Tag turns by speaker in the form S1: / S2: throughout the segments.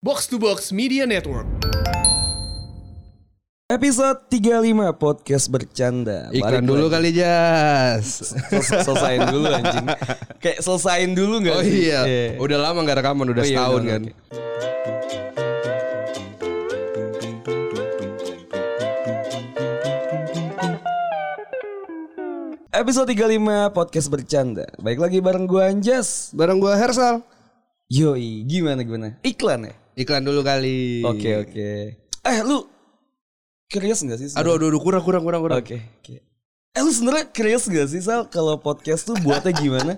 S1: Box to Box Media Network.
S2: Episode 35 podcast bercanda.
S3: Iklan dulu kan.
S2: lagi.
S3: kali Jas.
S2: Sel- selesain dulu anjing. Kayak selesain dulu enggak
S3: Oh
S2: sih?
S3: iya,
S2: Iya.
S3: udah lama gak rekaman,
S2: Oh
S3: udah
S2: iya,
S3: setahun
S2: udah,
S3: kan.
S2: oke. Episode 35 podcast bercanda. Baik lagi bareng gua Anjas.
S3: Bareng gua Hersal.
S2: Yoi, gimana gimana? Iklan ya?
S3: Iklan dulu kali.
S2: Oke, oke. Eh, lu curious enggak sih? sebenarnya?
S3: Aduh, aduh, aduh, kurang, kurang, kurang, kurang.
S2: Oke, oke. Eh lu sebenernya curious gak sih Sal kalau podcast tuh buatnya gimana?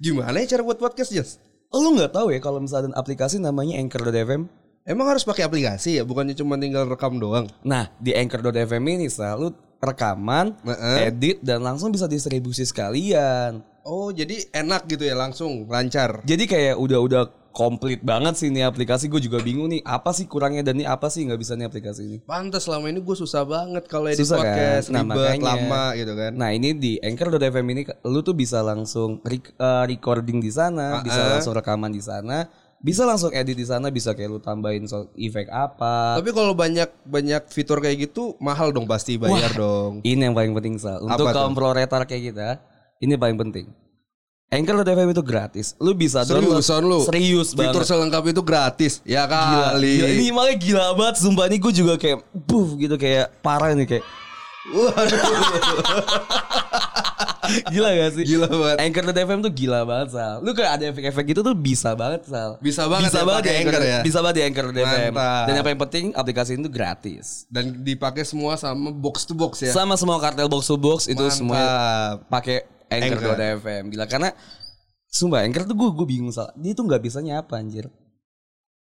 S3: Gimana ya cara buat podcast Jas?
S2: oh, lu nggak tahu ya kalau misalnya ada aplikasi namanya Anchor.fm?
S3: Emang harus pakai aplikasi ya, bukannya cuma tinggal rekam doang.
S2: Nah di Anchor.fm ini Sal lu rekaman,
S3: Heeh.
S2: edit dan langsung bisa distribusi sekalian.
S3: Oh, jadi enak gitu ya, langsung lancar.
S2: Jadi kayak udah-udah komplit banget sih ini aplikasi. Gue juga bingung nih apa sih kurangnya dan nih apa sih nggak bisa nih aplikasi ini.
S3: Pantas selama ini gue susah banget kalau edit
S2: Susah kan?
S3: podcast,
S2: Nah,
S3: ribet,
S2: makanya.
S3: lama gitu kan.
S2: Nah ini di Anchor.fm ini lu tuh bisa langsung rec- eh, recording di
S3: Ah,
S2: sana, bisa langsung rekaman di sana, bisa langsung edit di sana, bisa kayak lu tambahin sound effect apa.
S3: Tapi kalau banyak banyak fitur kayak gitu mahal dong pasti bayar dong.
S2: Ini yang paling penting Sal. Untuk
S3: Iya. Apa
S2: kaum proletar kayak kita, ini paling penting. Anchor.fm itu gratis. Lu bisa download
S3: Seriusan lu?
S2: serius
S3: Fitur
S2: banget.
S3: selengkap itu gratis. Ya kali.
S2: Ah, Gila, ini makanya gila banget sumpah ini gue juga kayak buff gitu kayak parah nih kayak
S3: Waduh.
S2: gila gak sih?
S3: Gila banget.
S2: Anchor.fm tuh gila banget Sal. Lu kayak ada efek-efek gitu tuh bisa banget Sal.
S3: Bisa banget
S2: bisa
S3: ya
S2: banget di
S3: pakai
S2: Anchor,
S3: Anchor ya?
S2: Bisa banget di Anchor.fm.
S3: Mantap.
S2: Dan yang paling penting aplikasi itu gratis.
S3: Dan dipakai semua sama box to box ya.
S2: Sama semua kartel box to box itu semuanya
S3: Mantap.
S2: pakai Anchor.fm. Gila karena sumpah Anchor tuh gue gue bingung Sal. Dia tuh nggak bisa nyapa anjir.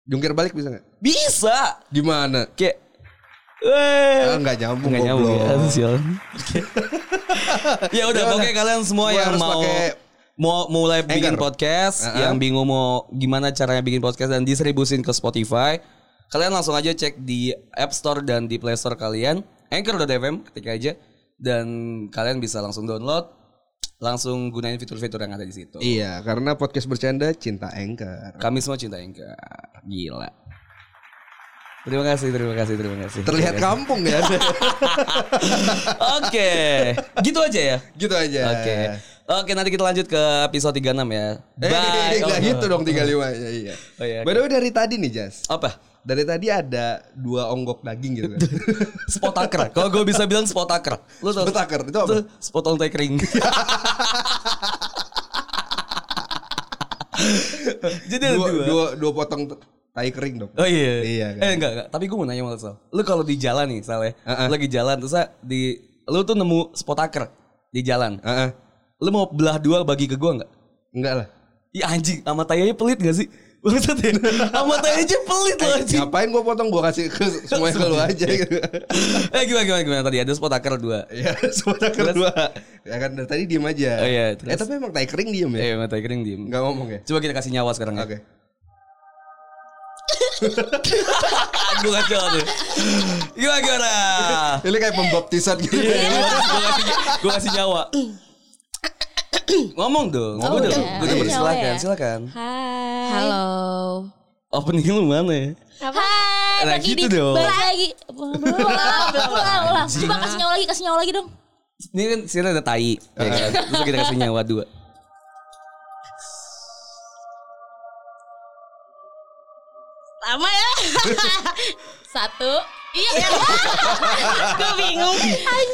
S3: Jungkir balik bisa nggak?
S2: Bisa.
S3: Gimana?
S2: Kayak eh
S3: Ah, nggak nyambung.
S2: nggak nyambung ya.
S3: goblok.
S2: Aduh, sial. ya udah
S3: Gimana?
S2: pokoknya kalian semua
S3: Gua
S2: yang
S3: harus
S2: mau
S3: pakai-
S2: mau mulai bikin
S3: Anchor.
S2: podcast
S3: Uh-uh.
S2: yang bingung mau gimana caranya bikin podcast dan distribusin ke Spotify kalian langsung aja cek di App Store dan di Play Store kalian anchor.fm ketik aja dan kalian bisa langsung download langsung gunain fitur-fitur yang ada di situ
S3: Iya, karena podcast bercanda cinta anchor.
S2: kami semua cinta Anchor gila terima kasih terima kasih terima kasih
S3: Terlihat
S2: Terima kasih.
S3: kampung ya.
S2: oke gitu aja ya
S3: gitu aja.
S2: Oke. Oke, nanti kita lanjut ke episode 36 ya.
S3: Eh,
S2: Bye.
S3: nggak
S2: Oh.
S3: gitu dong 35 nya iya.
S2: Oh, iya, oke.
S3: By the way, dari tadi nih, Jas.
S2: Apa?
S3: Dari tadi ada dua onggok daging gitu kan.
S2: Spotaker. Kalau gue bisa bilang spotaker. Lu tau?
S3: Spotaker, itu apa?
S2: Spot on takering. Jadi ada
S3: dua,
S2: dua.
S3: dua, dua potong t- tai kering dong.
S2: Oh iya.
S3: Iya kan.
S2: Eh enggak, enggak. Tapi gue mau nanya sama lu, Sal. Lu kalau di jalan nih, Sal ya.
S3: Heeh.
S2: Lu lagi jalan terus Sal, di lu tuh nemu spotaker di jalan.
S3: Heeh.
S2: Lu mau belah dua bagi ke gua enggak?
S3: Enggak lah.
S2: Ih anjing, sama tayanya pelit gak sih? Bangsat ya? Sama tayanya pelit
S3: Eh,
S2: loh anjing.
S3: Ngapain gua potong gua kasih ke semuanya ke lu aja gitu.
S2: eh gimana gimana gimana tadi ada spot akar dua.
S3: Ya, semuanya kedua. Ya kan dari tadi diem aja.
S2: Oh, iya, terus? Iya.
S3: eh tapi emang tai kering diem ya?
S2: Eh mata kering diem.
S3: Enggak ngomong ya?
S2: Coba kita kasih nyawa sekarang ya.
S3: Oke.
S2: Aku kacau tuh. Gimana gimana?
S3: Ini kayak pembaptisan gitu.
S2: gue kasih, gua kasih nyawa. Ngomong dong.
S4: Oh,
S2: Gua udah,
S4: udah.
S2: gua udah
S4: Nyawa
S2: silakan,
S4: ya?
S2: silakan.
S4: Hai.
S5: Halo.
S2: Opening lu mana ya?
S4: Hai.
S2: Nah,
S4: Bang
S2: gitu
S4: Didi.
S2: dong.
S4: Balik lagi. Ulang, ulang, ulang, ulang. Coba kasih nyawa lagi, kasih nyawa lagi dong.
S2: Ini kan sini ada tai. ya kan?
S3: Iya.
S2: Terus kita kasih nyawa dua.
S4: Lama ya. Satu. Iya. Gue bingung. Hai.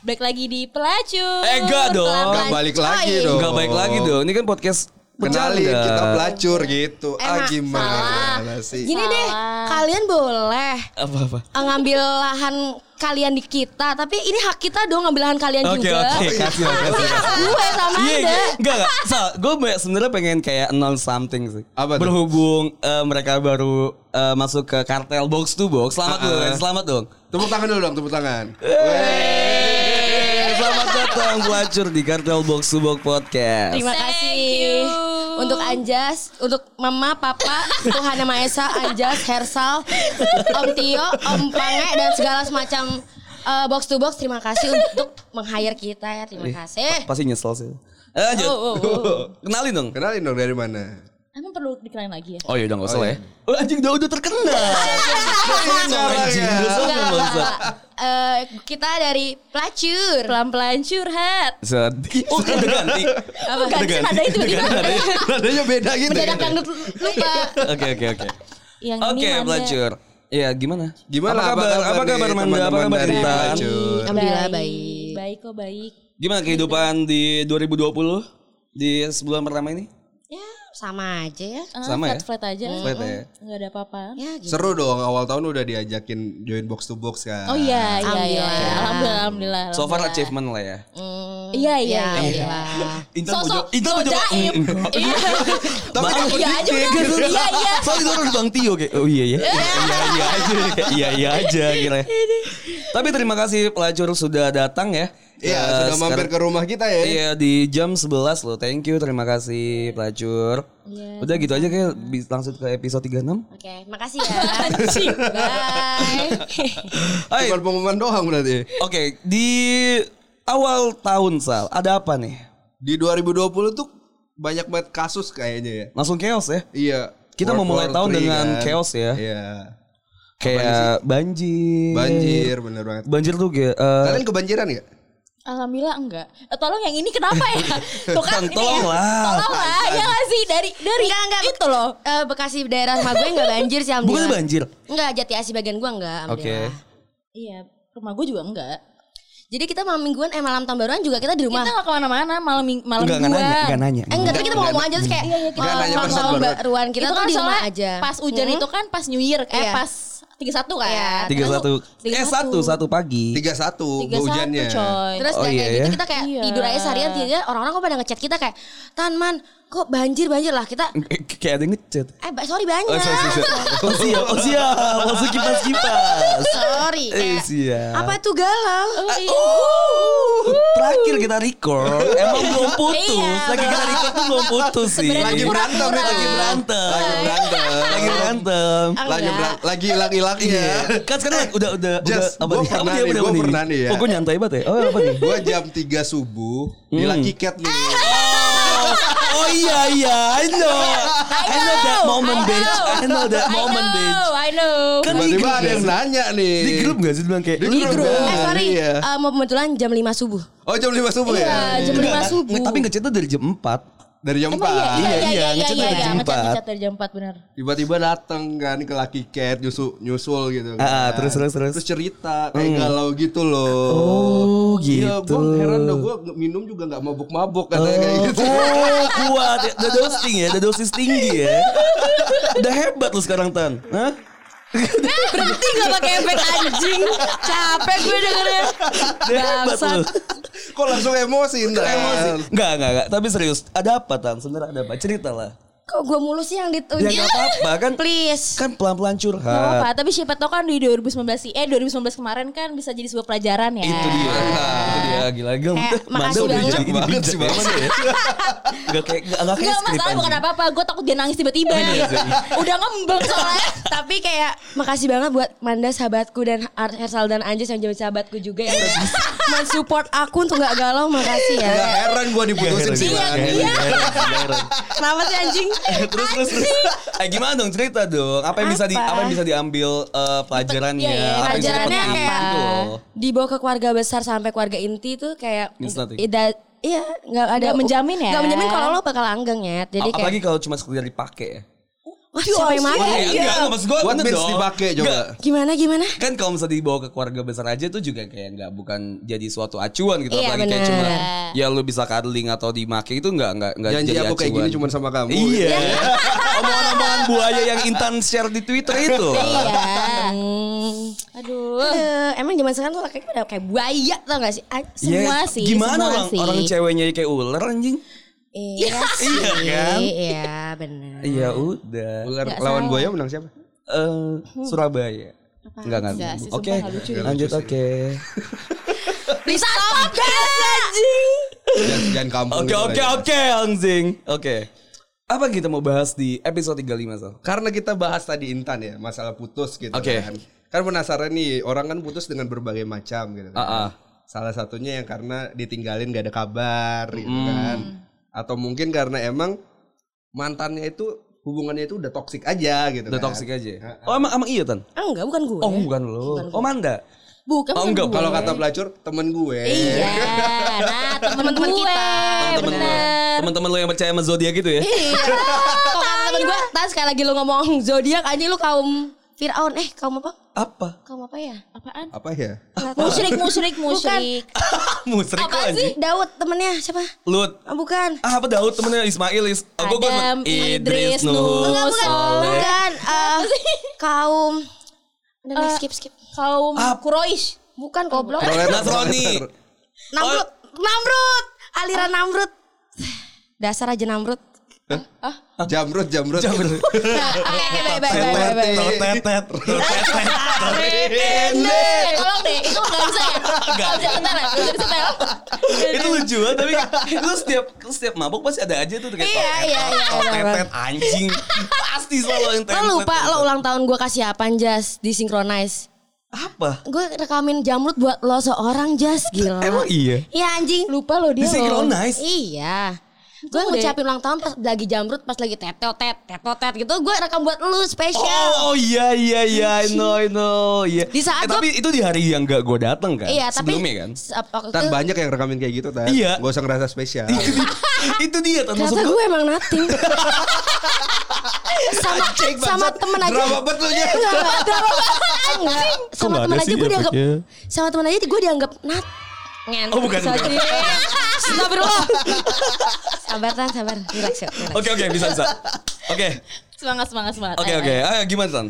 S4: Balik lagi di pelacur.
S2: Eh, enggak dong.
S3: Enggak balik
S5: Oh,
S3: lagi
S5: iya.
S4: Coy.
S3: dong.
S2: Enggak baik lagi dong. Ini kan podcast
S3: Kenalin
S2: bercanda.
S3: kita pelacur gitu. ah
S5: Enak,
S3: gimana sih?
S5: Gini deh, kalian boleh
S2: apa apa.
S5: eh, ngambil lahan kalian di kita, tapi ini hak kita dong ngambil lahan kalian
S2: Oke
S5: juga.
S2: oke, kasih kasih. kasih.
S5: Gue sama
S2: Iya,
S5: Anda.
S2: iya. enggak enggak. So, gue sebenarnya pengen kayak announce something sih.
S3: Apa tuh?
S2: Berhubung eh, mereka baru eh, masuk ke kartel box to box. Selamat
S3: Ah, ah.
S2: dong, selamat dong.
S3: Tepuk tangan dulu dong, tepuk tangan.
S2: Eh, Selamat datang pelacur di kartel box to box podcast.
S5: Terima
S4: Thank
S5: kasih
S4: you.
S5: untuk Anjas, untuk Mama, Papa, Tuhan Yang Maha Esa, Anjas, Hersal, Om Tio, Om Pange dan segala semacam eh, box to box. Terima kasih untuk meng-hire kita ya. Terima kasih.
S2: Pasti nyesel sih. Eh, Lanjut.
S5: Oh, oh, oh.
S2: Kenalin dong.
S3: Kenalin dong dari mana?
S4: Emang perlu dikenalin lagi ya?
S2: Oh ya udah nggak usah
S3: iya.
S2: lah ya. Oh, anjing udah udah terkenal. Anjing udah sama
S5: Enggak, enggak,
S2: bangsa.
S5: enggak. Eh, kita dari pelacur.
S4: Pelan-pelan curhat.
S2: Sedih. Oh kan udah ganti.
S4: Apa ganti ada itu
S2: Udah ganti
S4: gimana?
S2: nadanya.
S3: Nadanya beda gitu.
S5: Mendadak dangdut lupa.
S2: Oke oke oke.
S4: Yang ini
S2: Oke
S4: mana?
S2: pelacur. Iya gimana?
S3: Gimana?
S2: Apa kabar? Apa kabar
S3: nih
S2: Manda? Apa
S3: teman-teman
S2: kabar
S3: dari
S2: Intan?
S3: Pelacur?
S5: Alhamdulillah
S4: baik.
S5: baik.
S4: Baik kok baik.
S2: Gimana kehidupan di 2020? Di sebulan pertama ini?
S5: Ya, sama aja ya.
S4: Ah,
S2: Sama ya?
S4: Flat-flat aja.
S2: Flat ya?
S4: Enggak ada apa-apa.
S5: Ya gitu.
S3: Seru dong awal tahun udah diajakin join box to box kan.
S4: Oh iya, iya, iya.
S5: Alhamdulillah.
S4: Alhamdulillah, alhamdulillah.
S2: So far achievement lah ya.
S5: Hmm,
S4: Iya, iya,
S5: ya,
S4: iya.
S5: iyalah.
S2: Intan mau
S4: Sosok
S2: jawab- Intan mau jawab-
S4: godaib.
S2: Mm, mm.
S4: Iya.
S3: Tapi
S2: Bang,
S3: takut
S4: iya aja
S3: dikit.
S4: udah. Iya, iya.
S2: gitu. Soalnya itu harus Bang Tio kayak oh iya ya. Iya iya aja. Iya iya aja kira. Tapi terima kasih pelacur sudah datang ya.
S3: Iya,
S2: Eh,
S3: sudah mampir
S2: sekarang-
S3: ke rumah kita ya.
S2: Iya di jam 11 loh. Thank you, terima kasih pelacur. Udah gitu aja kayak bi- langsung ke episode 36.
S5: Oke, makasih ya. Bye.
S2: Hai,
S3: Cuma
S2: oke
S3: pengumuman doang berarti. ya.
S2: di awal tahun Sal, ada apa nih?
S3: Di 2020 tuh banyak banget kasus kayaknya ya.
S2: Langsung chaos ya.
S3: Iya.
S2: Kita
S3: World
S2: memulai
S3: War
S2: tahun
S3: Three
S2: dengan chaos ya.
S3: Iya.
S2: Kayak banjir.
S3: Banjir bener banget.
S2: Banjir tuh kayak eh,
S3: Kalian kebanjiran gak?
S4: Alhamdulillah enggak. Eh, tolong yang ini kenapa ya? Tuh kan ini ya.
S2: Tolonglah.
S4: Tolonglah. Ya nggak sih dari dari
S5: Enggak, enggak.
S4: itu loh.
S5: Eh, Bekasi daerah rumah gue enggak banjir sih
S2: bukan
S5: alhamdulillah.
S2: banjir.
S5: Enggak, Jati Asih bagian gue enggak
S2: Oke.
S5: alhamdulillah.
S4: Iya, rumah gue juga enggak.
S5: Jadi kita malam mingguan eh malam tahun baruan juga kita di rumah.
S4: Kita nggak kemana-mana malam ming- malam
S2: Enggak enggak nanya, enggak Iya, nanya.
S5: Eh, enggak, tapi kita mau ngomong aja terus kayak
S3: Enggak
S5: oh,
S3: nanya
S5: malam
S3: pas
S5: tahun
S3: tahun baruan.
S5: baruan kita
S4: itu
S5: tuh
S4: kan
S5: di rumah
S4: soalnya
S5: aja. Hmm?
S4: Pas hujan itu kan pas New Year, eh
S5: Iya.
S4: pas 31 kan.
S5: Iya.
S2: Tiga satu.
S4: Tiga
S2: Eh satu satu pagi.
S3: 31
S4: Tiga satu
S3: hujannya.
S4: coy.
S5: Terus
S2: Oh,
S5: kayak
S2: iya
S5: gitu
S2: ya?
S5: kita kayak
S4: Iya.
S5: tidur aja seharian tiga orang-orang kok pada ngechat kita kayak Tan man kok banjir banjir lah kita
S2: Eh, Kayak ada yang ngechat.
S5: eh ba- sorry banyak
S2: Oh, sorry, sorry, sorry. oh siap, oh siap, langsung kipas kipas.
S5: sorry
S2: Eh
S5: kayak
S2: siap.
S5: apa tuh galau
S2: Ah,
S4: Oh, iya.
S2: Terakhir kita record Emang belum putus
S4: Iya,
S2: Lagi kita record tuh belum putus sih
S4: Sebenarnya
S2: Lagi
S3: Lagi
S4: Kurang-kurang.
S3: berantem nih, lagi
S2: berantem
S3: Lagi berantem.
S2: Lagi berantem
S3: Lagi berantem. Lagi laki-laki ya.
S2: Kan sekarang udah udah
S3: Jas,
S2: udah
S3: gua
S2: Apa
S3: pernah
S2: dia,
S3: nih,
S2: apa
S3: gua
S2: dia?
S3: pernah nih ya.
S2: Oh gue nyantai banget ya. Oh apa nih?
S3: Gue jam 3 subuh di
S2: Hmm.
S3: Lucky Cat nih.
S2: Oh iya iya, I know. I know that moment bitch. I know that moment bitch.
S4: I know.
S2: Kan di
S3: Tiba-tiba
S2: grup
S3: ada
S2: nggak
S3: yang
S2: sih?
S3: nanya nih.
S2: Di grup gak sih bilang kayak
S3: Di
S2: "Lu
S3: grup.
S5: eh sorry
S3: Iya.
S5: eh, mau kebetulan jam 5 subuh
S3: Oh jam 5 subuh
S4: Iya,
S3: ya?
S4: jam
S2: Enggak,
S4: 5 subuh.
S2: nge- Tapi ngechatnya dari jam 4
S3: Dari jam 4.
S4: Emang iya, iya,
S2: Iya,
S4: iya,
S2: iya,
S4: iya,
S2: ngecat dari
S4: iya, iya,
S2: jam
S4: ngecat,
S2: empat.
S4: ngecat dari jam 4 bener.
S3: Tiba-tiba dateng kan ke Lucky Cat nyusul, nyusul gitu.
S2: Ah, ah,
S3: kan.
S2: terus, terus, terus. Hmm.
S3: Terus cerita kayak galau gitu loh.
S2: Oh,
S3: Iya,
S2: gitu.
S3: gue heran dong gue minum juga nggak mabuk-mabuk katanya kayak gitu.
S2: Oh kuat ya. Udah dosing ya Udah dosis tinggi ya Udah hebat lu sekarang Tan Hah?
S5: berhenti gak pakai efek anjing capek gue dengernya
S2: Udah hebat lu
S3: Kok langsung emosi Nah. Indra?
S2: Emosi Enggak enggak enggak Tapi serius Ada apa Tan Sebenarnya ada apa Cerita lah
S5: kok gue mulu sih yang
S2: Ya
S5: ditunjuk
S2: gak apa-apa kan
S5: Oh, iya. please
S2: Kan pelan-pelan
S4: Gak apa-apa,
S2: curhat
S4: tapi siapa tau kan di 2019 sih, eh 2019 kemarin kan bisa jadi sebuah pelajaran ya.
S2: Itu dia Itu dia Gila-gila
S5: Eh, makasih banget.
S2: jadi
S3: Bijak banget sih,
S2: bijak
S3: Bang.
S2: ya. Enggak kayak Enggak kayak
S4: Enggak
S2: skrip
S4: masalah bukan
S2: anjing.
S4: apa-apa, gue takut dia nangis tiba-tiba.
S2: Iya,
S4: Udah ngembang soalnya.
S5: tapi kayak makasih banget buat Manda sahabatku dan Ar- Hersal dan Anjas yang jadi sahabatku
S4: ya,
S5: juga yang
S4: Iya.
S5: mensupport aku untuk nggak galau makasih ya Iya,
S3: Gak heran gue diputusin sih.
S2: Gak
S3: Bang.
S2: heran, gak heran, gak heran.
S5: kenapa sih ya, anjing
S2: terus terus terus. Eh gimana dong cerita dong? Apa yang bisa di
S5: Apa?
S2: apa yang bisa diambil eh, pelajarannya?
S4: Iya, iya,
S2: Apa yang bisa
S5: pelajarannya
S2: dapat
S5: kayak-
S2: gitu loh.
S5: dibawa ke keluarga besar sampai keluarga inti tuh kayak
S2: Means nothing.
S5: ida, iya nggak ada
S4: Nggak menjamin ya?
S5: nggak menjamin kalau lo bakal langgeng ya jadi kayak
S2: Apalagi Iya, kalau cuma sekedar dipakai
S4: Eh,
S2: ya.
S5: wah siapa yang
S2: Wah,
S4: iya.
S5: makan
S2: enggak, enggak maksud gua
S3: What
S2: bener
S3: means
S2: dong.
S3: dipakai coba?
S2: Enggak.
S5: gimana gimana
S2: Kan kalau misalnya dibawa ke keluarga besar aja tuh juga kayak nggak bukan jadi suatu acuan gitu
S5: Iya,
S2: apalagi kayak
S5: bener.
S2: cuma ya lu bisa cuddling atau dimaki itu nggak nggak nggak
S3: Janji
S2: jadi
S3: aku kayak
S2: acuan.
S3: gini cuma sama kamu.
S2: Iya. Omongan-omongan buaya yang Intan share di Twitter itu.
S4: Iya.
S5: Hmm.
S4: Aduh.
S5: Eh, emang zaman sekarang tuh laki-laki
S4: Eh,
S5: udah kayak buaya tau gak sih An-
S4: Semua
S2: Ya,
S4: sih,
S2: Gimana
S4: semua
S2: orang
S4: sih.
S2: orang ceweknya kayak ular anjing?
S5: Iya sih
S2: Iya kan?
S5: Iya bener
S2: Ya udah.
S3: Ular lawan buaya menang siapa?
S2: eh Surabaya. Enggak enggak.
S4: Enggak sih,
S2: Oke.
S4: sumpah nggak lucu.
S2: Lanjut oke.
S5: Bisa stop anjing
S3: Jangan, jangan kampung.
S2: Oke
S3: gitu
S2: oke
S3: lah ya.
S2: oke anjing. Oke. Apa kita mau bahas di episode 35 Sal?
S3: Karena kita bahas tadi Intan ya masalah putus gitu
S2: Oke.
S3: kan. Kan penasaran nih orang kan putus dengan berbagai macam gitu kan.
S2: Ah, ah.
S3: Salah satunya yang
S2: Hmm.
S3: karena ditinggalin gak ada kabar gitu kan. Atau mungkin karena emang mantannya itu hubungannya itu udah toksik aja gitu.
S2: Udah
S3: kan.
S2: toxic aja. Oh emang emang iya Tan?
S5: Ah, Enggak, bukan gue.
S2: Oh bukan lo. Oh Manda.
S4: Bukan
S2: Oh,
S4: bukan
S2: enggak,
S4: gue.
S3: Kalau kata pelacur temen gue.
S4: Iya. Nah, teman-teman
S5: Teman-teman
S4: gue.
S5: kita.
S2: Temen-temen lo.
S4: bener.
S2: Temen-temen lo yang percaya sama zodiak gitu ya?
S5: Iya. Kok temen gue, tas sekali lagi lu ngomong zodiak anjing lu kaum Firaun. Eh, kaum apa?
S2: Apa?
S5: Kaum apa ya?
S4: Apaan?
S3: Apa ya?
S4: Musyrik, musyrik, musyrik.
S2: Musrik lo
S5: Apa
S2: anjing.
S5: sih? Daud temennya siapa?
S2: Lut.
S5: Ah, bukan.
S2: Ah, apa Daud temennya Ismail is. Ah, gua- gua-
S4: Adam, Idris, Nuh.
S5: Enggak, bukan.
S4: Soleh.
S5: Bukan. Eh, kaum. Udah,
S4: Eh,
S5: nih, skip, skip.
S4: Kaum
S2: Apa?
S4: Quraisy.
S5: Bukan goblok.
S3: Proletar,
S2: Nasrani.
S3: proletar.
S5: Namrud. Namrud. Aliran Namrud. Dasar aja Namrud.
S3: Jamrut, jamrut.
S2: Jamrut.
S4: Ah, eh,
S5: Oke, oke, baik, baik, baik, baik, baik.
S2: Tetet. Tetet.
S4: Eh, Tolong deh, itu nggak bisa ya? Nggak bisa, bentar ya? Nggak bisa setel.
S2: itu lucu banget tapi lu setiap lu setiap mabuk pasti ada aja tuh kayak
S5: Iya, iya, iya,
S2: "Tok,
S5: iya,
S2: tok, tetet anjing pasti selalu yang
S5: Lo
S2: tetet,
S5: lupa
S2: tetet.
S5: lo ulang tahun gue kasih apa Jas di Synchronize
S2: apa
S5: Gue rekamin jamrut buat lo seorang Jas gila
S2: emang iya
S5: Iya anjing
S4: Lupa loh dia.
S2: Di
S4: loh.
S2: synchronize
S5: Iya Gue
S4: Tuh deh.
S5: ngucapin ulang tahun pas lagi jamrut pas lagi tetotet tetotet gitu Gue rekam buat lo
S2: Oh,
S5: spesial
S2: oh iya iya iya I know I know iya.
S5: Di saat
S2: Eh, tapi itu di hari yang gak gue dateng kan
S5: Iya tapi
S2: sebelumnya kan
S5: se- waktu
S3: Tan
S5: itu-
S3: banyak yang rekamin kayak gitu Tan.
S2: Iya.
S3: Gak usah ngerasa spesial.
S2: itu dia kan maksud
S5: Ternyata
S2: gue
S5: gue emang nothing sama
S3: Anjing,
S5: sama
S3: bangsat.
S5: temen aja
S3: Drama banget lu, Jas.
S5: Enggak, enggak, drama banget.
S2: ya.
S5: Enggak. sama
S2: nggak
S5: temen
S2: ada
S5: aja
S2: sih
S5: gue dianggap
S2: efeknya?
S5: sama temen aja gue dianggap nat ngen
S2: Oh, bukan, bukan.
S5: Astagfirullah sabar tan sabar relax yuk relax.
S2: oke oke bisa bisa oke
S4: Semangat, semangat, semangat.
S2: oke
S4: Ayo,
S2: oke
S4: ayo.
S2: Ah, gimana Tan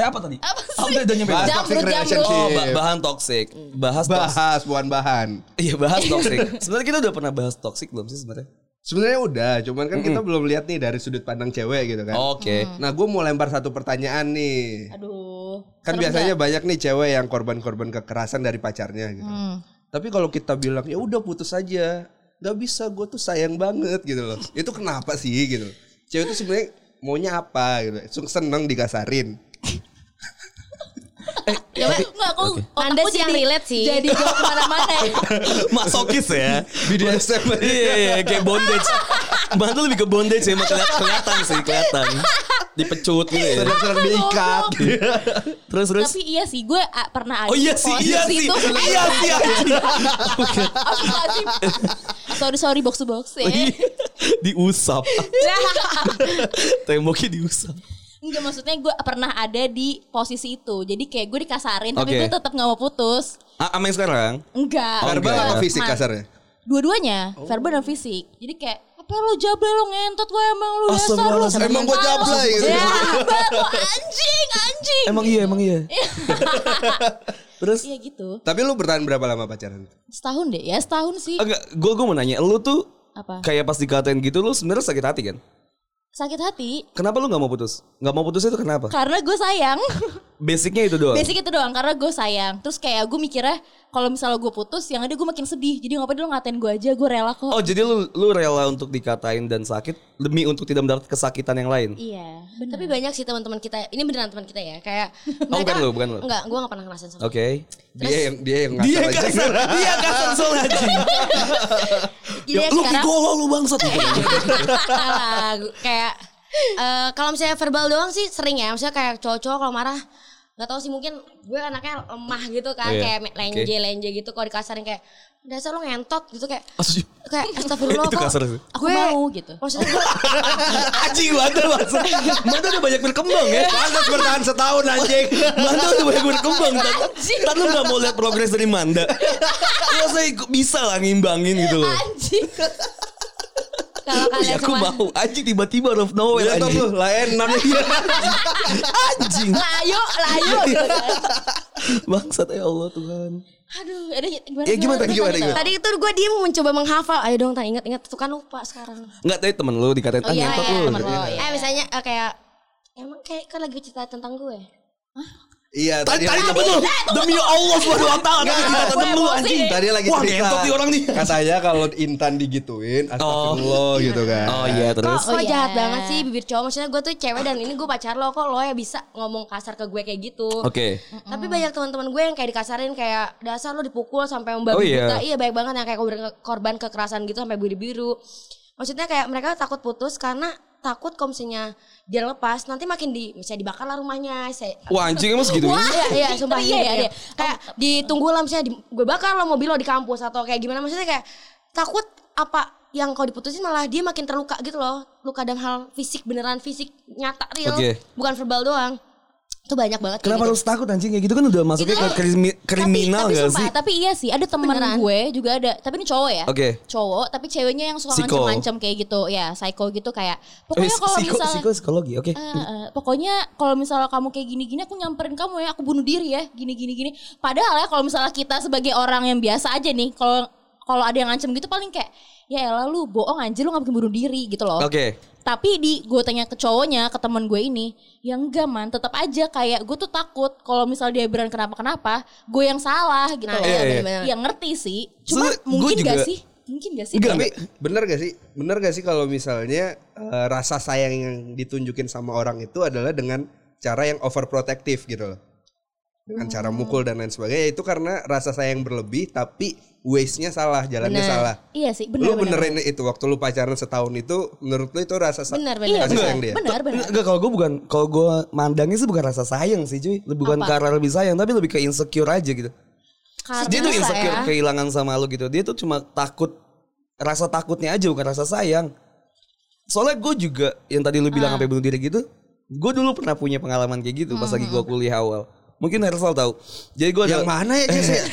S2: eh apa tadi
S4: Apa sih?
S2: Ah, udah, udah nyampe
S3: Bahas
S4: Jamrut,
S3: toxic
S4: jamrut.
S3: relationship.
S2: oh ba- bahan toxic bahas toxic
S3: bahas bukan bahan.
S2: iya bahas toxic sebenarnya kita udah pernah bahas toxic belum sih sebenarnya
S3: Sebenarnya udah, cuman kan kita belum lihat nih dari sudut pandang cewek gitu kan.
S2: Oke.
S3: Nah, gue mau lempar satu pertanyaan nih.
S4: Aduh.
S3: Kan biasanya banyak nih cewek yang korban-korban kekerasan dari pacarnya gitu.
S2: Hmm.
S3: Tapi kalau kita bilang ya udah putus aja, nggak bisa gue tuh sayang banget gitu loh. Itu kenapa sih gitu? Cewek itu sebenarnya maunya apa gitu? Sung- Seneng dikasarin.
S4: Ya, enggak, aku,
S5: Anda
S4: aku
S5: sih yang
S4: jadi-
S5: relate sih.
S4: Jadi jauh kemana-mana ya.
S2: Masokis ya.
S3: BDSM.
S2: Iya, iya, kayak bondage. Bantu lebih ke bondage ya, emang keliat- kelihatan sih, kelihatan. Dipecut gitu ya.
S3: Seneng-seneng diikat.
S2: Terus, terus.
S4: Tapi iya sih, gue ah, pernah ada
S2: Oh iya
S4: di
S2: sih, iya
S4: posisi
S2: sih.
S4: itu. Eh,
S2: Iya sih, anjing.
S4: Apa nggak sih? Sorry, sorry, box to box ya.
S2: Iya. Diusap. Temboknya diusap.
S4: Enggak maksudnya gue pernah ada di posisi itu. Jadi kayak gue dikasarin tapi
S2: Oke.
S4: gue tetap nggak mau putus.
S2: Ah, sama yang sekarang?
S4: Enggak.
S2: Oh,
S3: Verbal
S2: enggak.
S3: atau fisik
S4: Mas.
S3: kasarnya?
S4: Dua-duanya,
S5: Oh.
S4: verbal dan fisik. Jadi kayak apa lu jable lu ngentot gue emang lu dasar lu.
S2: Astagfirullahaladzim.
S3: Emang gua jablay gitu.
S4: Ya, apa lu anjing, anjing.
S2: Emang iya, emang iya. Terus?
S4: Iya gitu.
S3: Tapi lu bertahan berapa lama pacaran?
S4: Setahun deh ya, setahun sih.
S2: Enggak, gue gue mau nanya, lu tuh
S4: Apa?
S2: kayak pas dikatain gitu, lu sebenarnya sakit hati kan?
S4: Sakit hati
S2: Kenapa lu nggak mau putus? Nggak mau putus itu kenapa?
S4: karena gue sayang.
S2: Basicnya itu doang.
S4: Basic itu doang karena gue sayang. Terus kayak gue mikirnya kalau misalnya gue putus, yang ada gue makin sedih. Jadi ngapain lu ngatain gue aja, gue rela kok.
S2: Oh jadi lu lu rela untuk dikatain dan sakit demi untuk tidak mendapat kesakitan yang lain?
S4: Iya,
S5: tapi banyak sih teman-teman kita ini beneran teman kita ya kayak
S2: Hmm. Oh, bukan lu, bukan lu. Oh.
S5: enggak gue gak pernah ngerasain sama
S2: Oke.
S3: Dia yang dia yang
S2: Dia
S3: ngasal aja.
S2: kasar, dia kasar soal aja.
S5: Jadi yang
S2: Ya, lu
S5: sekarang-
S2: gigolo lu bangsat.
S5: Salah, gu- kayak eh, kalau misalnya verbal doang sih sering ya misalnya kayak cowok-cowok kalau marah nggak tahu sih mungkin gue anaknya lemah gitu
S2: Oh,
S5: kan
S2: iya.
S5: kayak me- lenje lenje gitu kalau dikasarin kayak dasar lo ngentot gitu kayak
S2: Asyik.
S5: kayak astagfirullah
S2: Itu
S5: kok
S2: kasar sih.
S4: Aku mau gitu.
S5: maksudnya gue
S2: Anjing Manda langsung. Manda udah banyak berkembang ya.
S3: Pantas bertahan setahun anjing.
S2: Manda udah banyak berkembang. Tan, Tan, lu gak mau lihat progres dari Manda. Ya saya ikut- bisa lah ngimbangin gitu loh.
S4: Anjing.
S5: kalau
S2: Ya
S4: Iya,
S5: kalian
S2: aku
S5: semua
S2: mau. Anjing tiba-tiba out of nowhere.
S3: Lihat Oh, iya, tuh lu
S2: Anjing.
S3: layanan.
S2: anjing.
S4: layo, layo gitu kan.
S2: Bangsat ya Allah Tuhan.
S4: Aduh, ada gimana?
S2: Ya, gimana,
S4: gimana,
S2: gimana,
S4: gimana?
S2: gimana?
S5: tadi itu gue diem mencoba menghafal ayo dong tan ingat-ingat tuh kan lupa sekarang
S2: Enggak tadi temen lu dikatain ah ngentot lu.
S4: temen lu, Oh, iya.
S5: eh misalnya eh, kayak emang kayak kan lagi cerita tentang ya?" gue
S3: Iya,
S2: Tadi tadi
S3: tadi
S2: temen lu demi Allah subhanahu wa taala tadi kita temen lu anjing.
S3: Tadi lagi
S2: Wah,
S3: cerita.
S2: ngentot nih orang nih.
S3: Katanya kalau Intan digituin astagfirullah gitu kan.
S2: Oh iya terus.
S5: Kok, kok
S4: iya.
S5: jahat banget sih bibir cowok Maksudnya gue tuh cewek dan ini gue pacar lo Kok lo ya bisa ngomong kasar ke gue kayak gitu
S2: Oke.
S5: Tapi banyak teman-teman gue yang kayak dikasarin kayak dasar lo dipukul sampai membabi
S2: Oh, iya.
S5: buta. Iya banyak banget yang kayak korban, korban kekerasan gitu sampai biru-biru. Maksudnya kayak mereka takut putus karena takut kalau misalnya dia lepas nanti makin di misalnya dibakar lah rumahnya saya
S2: Wah anjing emang segitu ya?
S5: Iya, iya, sumpah
S4: Iya,
S5: iya,
S4: iya,
S5: iya,
S4: iya.
S5: Kayak ditunggu lah misalnya di- gue bakar lah mobil lo di kampus atau kayak gimana maksudnya kayak takut apa yang kalau diputusin malah dia makin terluka gitu loh. Luka dalam hal fisik beneran fisik nyata real,
S2: Oke.
S5: bukan verbal doang. Itu banyak banget. kayak
S2: Kenapa
S5: gitu.
S2: harus takut anjing kayak gitu kan udah masuknya ke krimi- kriminal
S4: tapi, tapi
S2: gak
S4: sumpah,
S2: sih?
S4: Tapi iya sih, ada temen
S5: Beneran.
S4: gue juga ada. Tapi ini cowok ya.
S2: Oke.
S4: Cowok, tapi ceweknya yang suka
S2: Psycho.
S4: ngancem-ngancem kayak gitu. Ya, psycho gitu kayak. Pokoknya
S2: Eh,
S4: kalau
S2: psiko-
S4: misalnya...
S2: psiko- psikologi, oke.
S4: Eh, eh, pokoknya kalau misalnya kamu kayak gini-gini aku nyamperin kamu ya aku bunuh diri ya gini-gini gini padahal ya kalau misalnya kita sebagai orang yang biasa aja nih kalau kalau ada yang ngancem gitu paling kayak ya elah lu bohong anjir lu gak mungkin bunuh diri gitu loh
S2: Oke.
S4: tapi di gue tanya ke cowoknya ke temen gue ini ya enggak man tetap aja kayak gue tuh takut kalau misal dia beran kenapa kenapa gue yang salah gitu
S5: Nah,
S4: loh
S5: iya,
S2: Iya, iya.
S5: benar-benar.
S4: ya ngerti sih cuma
S2: Sebenernya gue
S4: mungkin
S2: juga-
S4: gak sih mungkin gak sih
S2: Enggak,
S4: Kayak-
S3: Tapi bener gak sih? Bener gak sih kalau misalnya eh, rasa sayang yang ditunjukin sama orang itu adalah dengan cara yang overprotective gitu loh. Dengan cara mukul dan lain sebagainya itu karena rasa sayang berlebih tapi waste-nya salah, jalannya
S5: Bener.
S3: salah.
S4: iya sih
S3: lu
S4: benar benar
S3: benerin itu waktu lu pacaran setahun itu menurut lu itu rasa sa-
S5: Bener, bener.
S4: iya
S3: kasih sayang dia.
S4: benar benar
S2: Enggak kalau gue bukan kalau gue mandangnya sih bukan rasa sayang sih cuy, lebih bukan
S4: Apa?
S2: karena lebih sayang tapi lebih ke insecure aja gitu.
S4: Karena
S2: dia tuh insecure
S4: saya-
S2: kehilangan sama lu gitu. Dia tuh cuma takut rasa takutnya aja bukan rasa sayang. Soalnya gue juga yang tadi lu
S4: Ah.
S2: bilang sampai bunuh diri gitu, gue dulu pernah punya pengalaman kayak gitu pas lagi gue
S4: Hmm.
S2: kuliah awal. Mungkin Hersal tahu. Jadi gue ada
S3: Yang mana ya Jess? ya?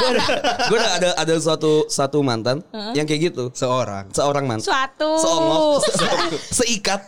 S2: gue ada, gua ada ada ada suatu satu mantan yang kayak gitu.
S3: Seorang.
S2: Seorang mantan.
S5: Suatu
S2: Seongok, se- se- seikat.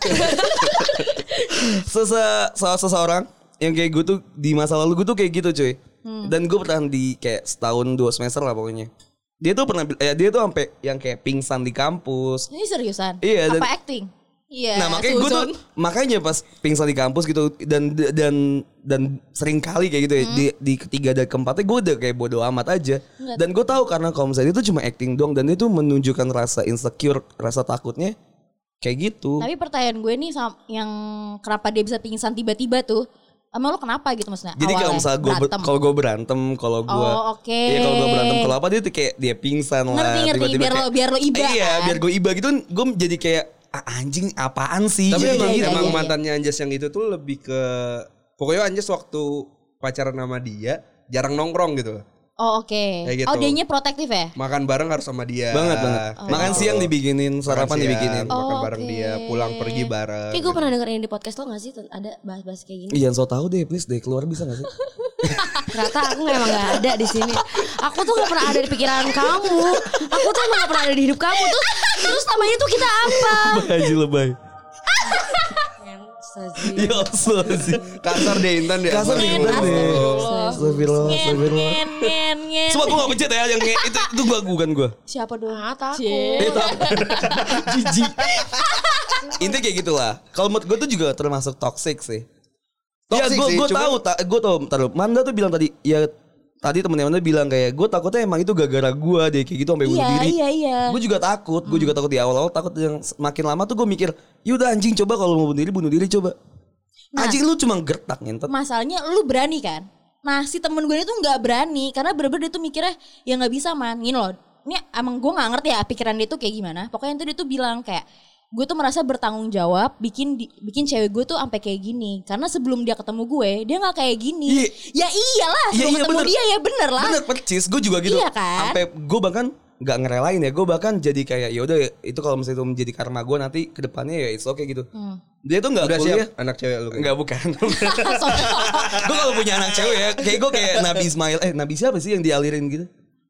S2: Sese- se- seseorang yang kayak gue tuh di masa lalu gue tuh kayak gitu cuy. Dan gue pernah di kayak setahun dua semester lah pokoknya. Dia tuh pernah, bil- eh, dia tuh sampai yang kayak pingsan di kampus.
S4: ini seriusan
S2: Iya, dan-
S4: apa acting
S5: Iya.
S2: Nah makanya gue tuh makanya pas pingsan di kampus gitu dan dan dan sering kali kayak gitu ya di, di ketiga dan keempatnya gue udah kayak bodo amat aja dan gue tahu karena kalau misalnya itu cuma acting doang dan itu menunjukkan rasa insecure rasa takutnya kayak gitu
S4: tapi pertanyaan gue nih sam- yang kenapa dia bisa pingsan tiba-tiba tuh emang lu kenapa gitu maksudnya
S2: Jadi kalau
S4: Awalnya
S2: misalnya gue ber-
S4: berantem.
S2: kalau gue berantem, kalau gue
S4: Oh, oke.
S2: Iya, kalau gue berantem kalau apa dia tuh kayak dia pingsan lah.
S4: Ngerti, ngerti.
S2: tiba-tiba
S4: Biar lo- biar lo iba,
S2: Iya,
S4: kan?
S2: biar gue iba gitu kan gue jadi kayak "Ah, anjing apaan sih?
S3: Tapi
S2: Iya,
S3: emang,
S2: iya,
S4: iya,
S3: emang
S4: iya.
S3: mantannya Anjas yang itu tuh lebih ke pokoknya Anjas waktu pacaran sama dia jarang nongkrong gitu loh.
S4: oh oke
S3: Kayak gitu.
S4: oh dianya protektif ya
S3: Makan bareng harus sama dia.
S2: banget banget.
S3: Kayak
S2: Makan
S4: iya.
S3: gitu.
S2: siang dibikinin, sarapan
S3: Makan siang,
S2: dibikinin.
S4: Oh.
S3: Makan bareng
S4: oke.
S3: dia, pulang pergi bareng.
S5: Kayak gue pernah dengerin di podcast lo gak sih ada bahas-bahas kayak gini?
S2: Ih, Jangan so tau deh, please deh keluar bisa gak sih?
S5: Ternyata aku emang gak ada di sini. Aku tuh gak pernah ada di pikiran kamu. Aku tuh emang gak pernah ada di hidup kamu. Terus, terus namanya tuh kita apa?
S2: Haji lebay.
S5: Astagfirullah.
S2: Ya Allah sih.
S3: Kasar deh Intan deh.
S2: Kasar deh, Intan deh. Astagfirullah, astagfirullah.
S4: Ngen, ngen, ngen.
S2: Cuma gue gak pencet ya yang nge- itu itu gue bukan gue.
S5: Siapa dong? Ah, takut.
S4: Cie.
S2: Jiji. Intinya kayak gitulah. Kalau menurut gue tuh juga termasuk toxic sih. ya
S3: Toxic
S2: gue
S3: sih,
S2: gue
S3: cuma-
S2: tahu, ta- gue tahu. Taruh, Manda tuh bilang tadi, ya tadi temennya Manda bilang kayak gue takutnya emang itu gara-gara gue deh kayak gitu sampai bunuh
S4: Iya,
S2: diri.
S4: iya, iya.
S2: Gue juga takut, gue juga takut di awal-awal takut yang makin lama tuh gue mikir, yaudah anjing coba kalau mau bunuh diri bunuh diri coba.
S4: Nah.
S2: anjing lu cuma gertak ngentot.
S4: Masalahnya lu berani kan? Nah si temen gue itu nggak berani karena bener-bener dia tuh mikirnya ya nggak bisa man gini loh. Ini emang gue nggak ngerti ya pikiran dia tuh kayak gimana. Pokoknya itu dia tuh bilang kayak gue tuh merasa bertanggung jawab bikin di- bikin cewek gue tuh sampai kayak gini karena sebelum dia ketemu gue dia nggak kayak gini.
S2: Iya.
S4: Ya iyalah
S2: Iya,
S4: sebelum
S2: iya,
S4: ketemu
S2: bener.
S4: dia ya bener lah.
S2: Bener percis, gue juga gitu.
S4: Iya kan?
S2: Sampai gue bahkan nggak ngerelain ya, gue bahkan jadi kayak ya udah itu kalau misalnya itu menjadi karma gue nanti kedepannya ya it's okay gitu.
S4: Hmm.
S2: Dia tuh nggak
S3: Udah
S2: kuliah,
S3: siap anak cewek lu.
S2: nggak bukan. Iya. gue kalau punya anak cewek ya, kayak gue kayak Nabi Ismail, eh Nabi siapa sih yang dialirin gitu?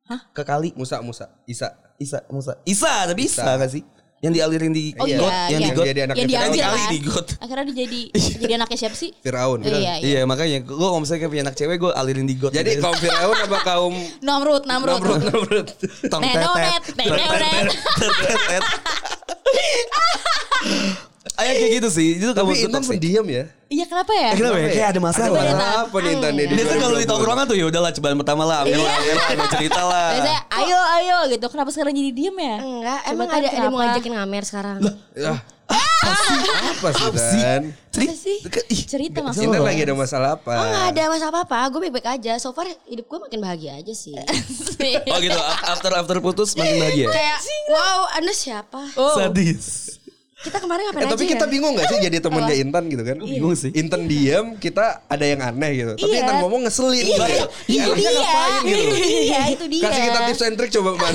S2: Hah? Ke kali
S3: Musa Musa Isa.
S2: Isa, Musa, Isa, tapi Isa,
S3: Isa.
S2: nggak sih? Yang dialirin di
S4: Oh iya,
S2: got, yang
S4: iya.
S2: di got.
S3: Yang jadi anak
S4: yang
S3: kita
S4: diambil
S2: kali
S4: kan.
S2: di got.
S4: Akhirnya dia jadi jadi anaknya siapa sih?
S3: Firaun.
S4: Iya, iya.
S2: Iya makanya gue kalau misalnya kayak punya anak cewek gue alirin di gitu. got.
S3: Jadi kaum Firaun apa kaum
S4: Namrud, Namrud.
S3: Namrud?
S2: tong
S4: Nenonet,
S2: tetet.
S4: nenonet.
S2: Tertetet. Ayah kayak gitu sih. Itu kamu
S3: Tapi Intan pendiam ya.
S4: Iya kenapa ya?
S2: Kenapa ya? Kayak ada
S3: Ada
S2: masalah.
S4: masalah.
S3: apa nih Intan
S4: Iya,
S3: nih? di
S2: Biasanya kalau di
S3: 2020?
S2: tongkrongan tuh ya udahlah cobaan pertama lah, ambil lah, ambil lah, ambil cerita lah.
S4: Biasanya ayo ayo gitu. Kenapa sekarang jadi diem ya?
S5: Enggak,
S4: Coba
S5: emang
S4: tahu
S5: ada, ada mau
S4: kenapa.
S5: ngajakin ngamer sekarang.
S3: Ah, apa sih? Apa sih Intan?
S4: Apa sih? Cerita maksudnya.
S3: Intan lagi ada masalah apa?
S5: Oh nggak ada masalah apa-apa, gue baik-baik aja. So far hidup gue makin bahagia aja sih.
S2: Oh
S4: Iya,
S2: gitu, after after putus makin bahagia.
S5: Kayak wow, anda siapa?
S4: Oh.
S2: Sadis.
S5: Kita kemarin ngapain
S3: Eh,
S5: aja
S3: tapi
S5: ya?
S3: kita bingung gak sih jadi temennya Intan gitu kan?
S2: Iya. Bingung sih.
S3: Intan diam, kita ada yang aneh gitu. Tapi
S4: Iya.
S3: Intan ngomong ngeselin. Iya,
S4: Iya, itu
S3: harusnya
S4: dia.
S3: ngapain gitu.
S4: Iya, itu dia.
S3: Kasih kita tips and trick coba man.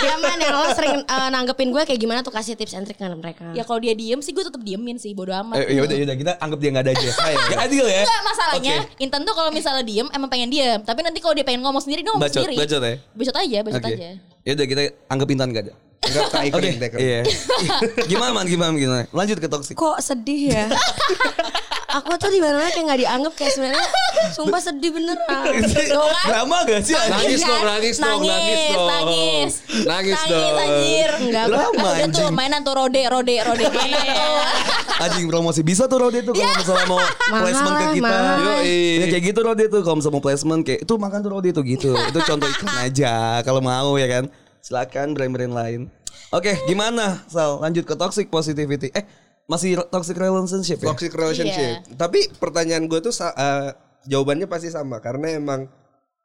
S5: Ya man, yang lo sering eh, nanggepin gue kayak gimana tuh kasih tips and trick kan mereka.
S4: Ya kalau dia diem sih gue tetap diemin sih bodo amat.
S2: Eh, yaudah, yaudah kita anggap dia nggak ada aja. ya adil ya.
S4: Enggak masalahnya Intan tuh kalau misalnya diem emang pengen diem tapi nanti kalau dia pengen ngomong sendiri dia ngomong
S2: Bacot,
S4: sendiri
S2: bacot ya?
S4: bacot aja bacot aja
S2: Ya udah kita anggap Intan nggak ada.
S3: Enggak tai
S2: Oke.
S3: kering, tai kering.
S2: Iya. gimana man, gimana gimana? Lanjut ke toxic.
S5: Kok sedih ya? Aku tuh di mana kayak nggak dianggap kayak sebenarnya sumpah sedih beneran.
S4: gitu
S2: Drama gak sih? anjing?
S3: Nangis dong, nangis dong, nangis dong.
S4: Iya. nangis
S3: Nangis dong.
S4: anjir
S5: Enggak,
S2: Drama
S4: Udah tuh
S2: anjing.
S4: mainan tuh rode rode rode mainan tuh
S2: Anjing promosi bisa tuh Rode tuh kalau misalnya mau placement ke
S5: lah,
S2: kita.
S5: Iya. mahal.
S2: Yoi.
S3: Yoi.
S2: Ya kayak gitu Rode tuh kalau misalnya mau placement kayak itu makan tuh Rode tuh gitu. Itu contoh iklan aja kalau mau ya kan. Silakan brand-brand lain. Oke, gimana Sal? Lanjut ke toxic positivity. Eh, masih toxic relationship ya?
S3: Toxic relationship. Tapi pertanyaan gue tuh sa- eh, jawabannya pasti sama karena emang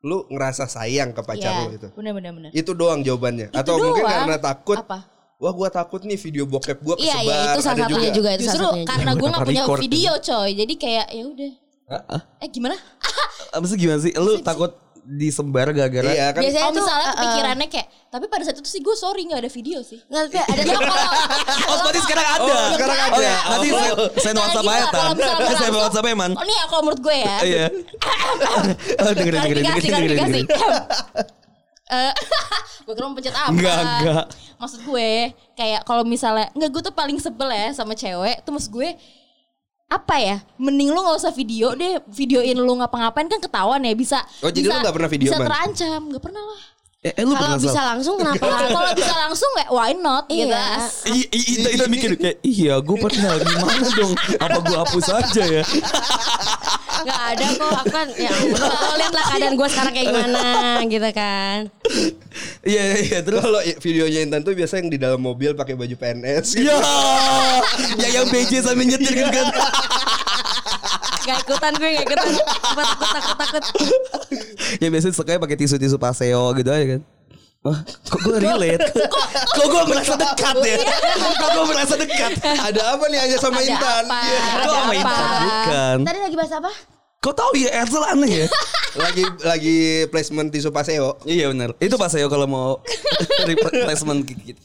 S3: lu ngerasa sayang ke pacar
S4: Iya,
S3: lu itu.
S4: bener bener bener
S3: Itu doang jawabannya. Atau
S4: doang.
S3: mungkin karena takut.
S4: Apa?
S3: Wah, gua takut nih video bokep gua kesebar.
S5: Iya, iya itu salah
S3: ada
S5: satunya juga, itu
S4: justru
S5: salah satunya.
S4: karena gue nggak
S2: Kenapa
S4: punya
S2: record
S4: video coy jadi kayak ya udah
S2: Heeh.
S4: eh gimana
S2: Maksudnya ah. gimana sih? Lu takut disembar gara-gara
S3: Iya kan.
S5: Biasanya
S4: Kalau
S5: tuh
S4: misalnya
S5: eh, eh,
S4: pikirannya kayak tapi pada saat itu sih gue sorry nggak ada video sih
S5: nggak, tapi
S2: Iya,
S5: ada
S4: ya kalau
S2: Oh, berarti sekarang ada.
S3: Oh, sekarang ada.
S2: Oke, nanti
S3: Oh.
S2: saya, saya
S4: Nah,
S2: WhatsApp
S4: gini
S2: aja,
S4: lah,
S2: Tan.
S4: kalau
S2: Saya
S4: misalnya langsung-
S2: WhatsApp aja, Man.
S4: Oh, ini ya kalau menurut gue ya.
S2: Iya. Oh, dengerin, dengerin,
S4: Klarifikasi,
S2: dengerin, dengerin,
S4: klarifikasi.
S2: dengerin.
S4: Eh, gue kira mau pencet apa?
S2: Enggak, enggak.
S4: Maksud gue kayak kalau misalnya enggak gue tuh paling sebel ya sama cewek, tuh maksud gue apa ya? Mending lu nggak usah video deh, videoin lu ngapa-ngapain kan ketahuan ya bisa.
S3: Oh, jadi
S4: bisa-
S3: lu nggak pernah video,
S4: Bisa
S3: Man?
S4: terancam, nggak pernah lah.
S2: Eh, eh, lu
S5: kalau
S2: pernah
S5: bisa
S2: Sal?
S5: langsung kenapa?
S4: Nah, Kalau bisa langsung ya why not
S5: Gitu. Iya.
S4: gitu.
S2: I- i- Ita, Ita mikir kayak iya gue pernah gimana dong apa gue hapus aja ya
S5: Enggak ada kok, aku kan ya Allah, lo lihat lah keadaan gue sekarang kayak gimana gitu kan.
S2: iya iya, iya terus
S3: Kalau i- videonya Intan tuh biasa yang di dalam mobil pakai baju PNS. gitu.
S2: ya ya yang BJ sambil nyetir gitu kan
S5: Gak ikutan gue, gak ikutan. Apa takut, takut, takut.
S2: ya biasanya sekali pakai tisu-tisu paseo gitu aja kan Wah, kok gue relate? Kok gue merasa dekat ya? Kok gue merasa dekat?
S3: Ada apa nih hanya sama Intan?
S4: apa?
S3: Iya.
S2: Kok sama Intan bukan?
S5: Tadi lagi bahas apa?
S2: Kok tau ya Ersel aneh ya?
S3: Lagi lagi placement tisu paseo.
S2: Iya benar. Itu paseo kalau mau replacement gitu.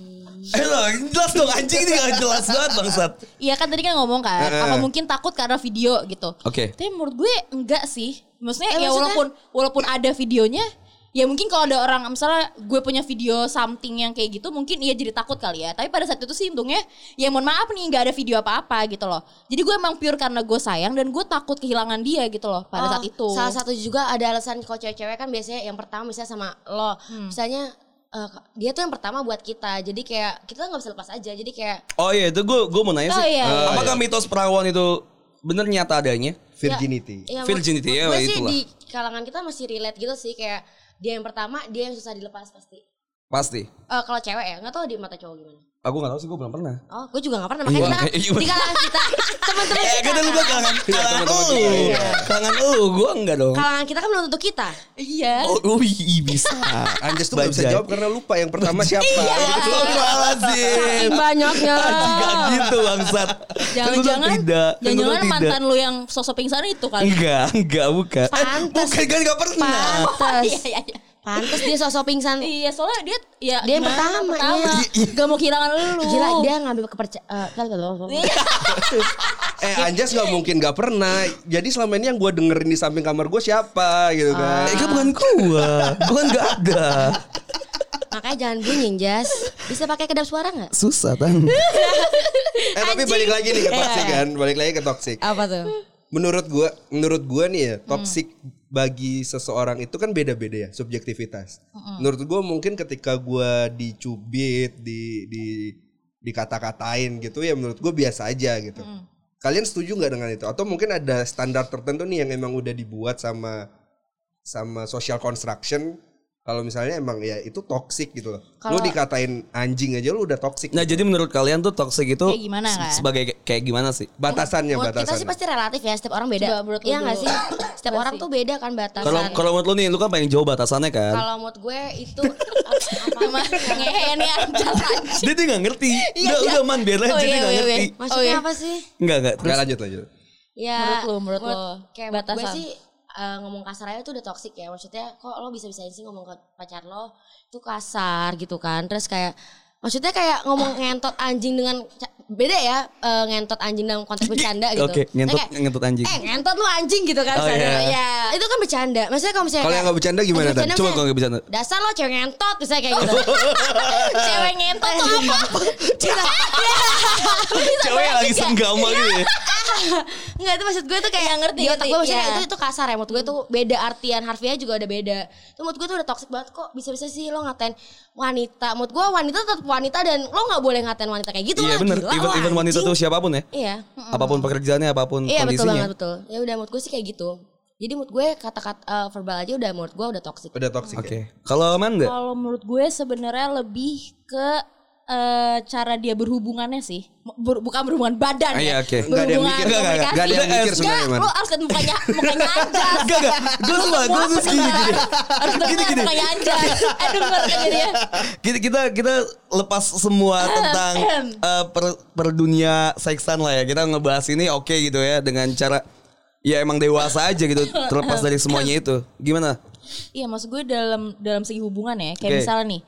S4: Hmm.
S2: Eh loh, jelas dong anjing ini gak jelas banget bangsat.
S4: Iya kan tadi kan ngomong kan,
S3: Heeh.
S4: apa mungkin takut karena video gitu.
S2: Oke.
S4: Tapi menurut gue enggak sih. Maksudnya
S5: Eh, maksudnya?
S4: ya walaupun walaupun ada videonya, ya mungkin kalau ada orang misalnya gue punya video something yang kayak gitu mungkin iya jadi takut kali ya. Tapi pada saat itu sih untungnya ya mohon maaf nih nggak ada video apa-apa gitu loh. Jadi gue emang pure karena gue sayang dan gue takut kehilangan dia gitu loh pada
S5: Oh,
S4: saat itu.
S5: Salah satu juga ada alasan kalau cewek-cewek kan biasanya yang pertama misalnya sama lo. Misalnya eh, dia tuh yang pertama buat kita. Jadi kayak kita nggak bisa lepas aja. Jadi kayak
S2: Oh iya itu gue gue mau nanya sih.
S4: Oh, iya, iya.
S2: Apakah mitos perawan itu bener nyata adanya?
S3: Virginity.
S5: ya,
S2: Virginity, ya,
S5: gue sih
S2: itulah.
S5: di kalangan kita masih relate gitu sih kayak dia yang pertama dia yang susah dilepas pasti.
S2: Pasti.
S5: Eh, kalau cewek ya nggak tahu di mata cowok gimana.
S2: Aku gak tahu sih gue belum pernah.
S5: Oh, gue juga gak pernah. Makanya
S2: Iya,
S5: kita kan
S2: iya.
S5: di kalangan kita, teman-teman
S2: Eh
S5: kita,
S2: kan lu bilang kalangan kalangan lu, kalangan Iya. lu, gue enggak dong.
S5: kalangan kita kan belum tentu kita.
S4: Iya.
S2: Oh, oh iya bisa.
S3: Anjas tuh gak bisa
S2: Bajai.
S3: jawab karena lupa yang pertama siapa. Gitu.
S2: Lo malah sih.
S5: Banyaknya.
S2: Anjing gak gitu bangsat. Kan lu bilang tidak. Kan lu
S4: Jangan-jangan
S2: bilang tidak.
S4: jangan-jangan
S2: Iya.
S4: mantan lu yang sosok pingsan itu kali.
S2: Enggak, enggak bukan. Eh,
S5: Pantes.
S2: bukan kan gak pernah.
S5: Pantes.
S4: Iya, iya, iya.
S5: Pantes dia sosok pingsan.
S4: Iya, soalnya dia ya
S5: Dia yang
S4: gimana,
S5: pertama,
S4: pertama.
S5: iya.
S4: Gak mau kehilangan lu.
S5: Gila dia ngambil kan, kepercayaan.
S3: Eh Anjas gak mungkin gak pernah. Jadi selama ini yang gue dengerin di samping kamar gue siapa gitu kan.
S2: Eh, kan bukan gua. Gua kan gak ada.
S5: Makanya jangan bunyi, Jas. Bisa pakai kedap suara nggak?
S2: Susah kan.
S3: Eh tapi balik lagi nih ke toxic kan. Balik lagi ke toxic.
S5: Iya. Apa tuh? Hmm.
S3: Menurut gue, menurut gue nih ya, toxic bagi seseorang itu kan beda-beda ya subjektivitas.
S5: Hmm.
S3: Menurut gue mungkin ketika gue dicubit, di di dikata-katain gitu ya menurut gue biasa aja gitu.
S5: Hmm.
S3: Kalian setuju nggak dengan itu? Atau mungkin ada standar tertentu nih yang emang udah dibuat sama sama social construction Kalau misalnya emang ya itu toksik gitu loh. Lu
S5: Kalau-
S3: dikatain anjing aja lu udah toksik.
S2: Nah jadi menurut kalian tuh toxic itu
S4: Kayak gimana,
S2: se-
S4: kan?
S2: sebagai kayak gimana sih?
S3: batasannya
S5: Menurut kita
S3: batasan.
S5: sih pasti relatif ya setiap orang beda.
S4: Coba menurut lu
S5: Iya nggak
S4: dulu.
S5: sih? Setiap orang tuh beda kan batasan.
S2: Kalau kalau menurut lu nih, lu kan pengen jauh batasannya kan?
S5: Kalau mood gue itu apa
S4: Sama ngehe nih anjas anjing.
S2: Dia tuh nggak ngerti. Udah udah man biar aja
S4: Oh,
S2: dia nggak
S4: iya, iya,
S2: ngerti.
S4: iya.
S5: Maksudnya
S4: Oh, iya.
S5: apa sih?
S2: Enggak enggak.
S3: Nggak,
S2: Terus
S3: lanjut lanjut.
S5: Ya,
S4: Menurut lu, menurut lu,
S5: kayak menurut gue
S4: batasan.
S5: sih eh, ngomong kasar aja tuh udah toxic ya. Maksudnya kok lo bisa-bisain sih ngomong ke pacar lo tuh kasar gitu kan. Terus kayak maksudnya kayak ngomong ngentot anjing dengan ca- beda ya eh, ngentot anjing dalam konteks bercanda gitu.
S2: Oke, ngentot
S5: Kayak,
S2: ngentot anjing.
S5: eh ngentot lu anjing gitu kan.
S2: Oh,
S5: misalnya.
S2: iya.
S5: Ya, Itu kan bercanda. Maksudnya kalau misalnya
S3: Kalau yang
S5: kayak,
S3: nggak bercanda gimana
S5: eh, Bercanda
S3: tadi?
S2: Coba
S5: misalnya,
S2: kalau nggak bisa.
S5: dasar lo cewek ngentot misalnya kayak gitu.
S4: Cewek ngentot tuh apa?
S2: Cewek yang lagi senggama gitu ya.
S5: Enggak itu maksud gue tuh kayak
S4: Iya, ngerti,
S5: di otak
S4: ngerti.
S5: gue maksudnya
S4: Iya.
S5: itu itu kasar ya menurut gue tuh beda artian harfiah juga ada beda. Itu menurut gue tuh udah toxic banget kok bisa-bisa sih lo ngatain wanita. Menurut gue wanita tetap wanita dan lo nggak boleh ngatain wanita kayak gitu
S2: Iya
S5: lah.
S2: bener,
S5: gila
S2: even,
S5: lo,
S2: even wanita
S5: anjing.
S2: tuh siapapun ya.
S5: Iya.
S2: Apapun pekerjaannya, apapun
S5: Iya betul
S2: kondisinya.
S5: banget betul. Ya udah menurut gue sih kayak gitu. Jadi menurut gue kata-kata eh, verbal aja udah menurut gue udah toxic.
S3: Udah toksik.
S2: Oke.
S3: ya?
S2: Kalau Amanda,
S4: Kalau menurut gue sebenarnya lebih ke eh, cara dia berhubungannya sih. Ber- bukan berhubungan badan
S2: Ah, iya,
S4: ya.
S2: oke.
S3: Nggak ada yang
S4: Berhubungan
S3: mikir, nggak, nggak, nggak. Nggak ada yang
S4: komunikasi.
S3: mikir sebenarnya,
S4: Nggak,
S3: Man.
S4: Lu harus lihat mukanya mukanya anjas.
S2: Enggak, enggak. Gue tuh gue tuh gini gini.
S4: Harus
S2: Gini,
S4: denger
S2: gini.
S4: mukanya anjas. Eh denger kan dia.
S2: Kita kita kita lepas semua tentang eh, per, per dunia seksan lah ya. Kita ngebahas ini oke gitu ya dengan cara ya emang dewasa aja gitu terlepas dari semuanya itu. Gimana?
S4: Iya maksud gue dalam dalam segi hubungan ya Kayak
S2: Oke.
S4: misalnya nih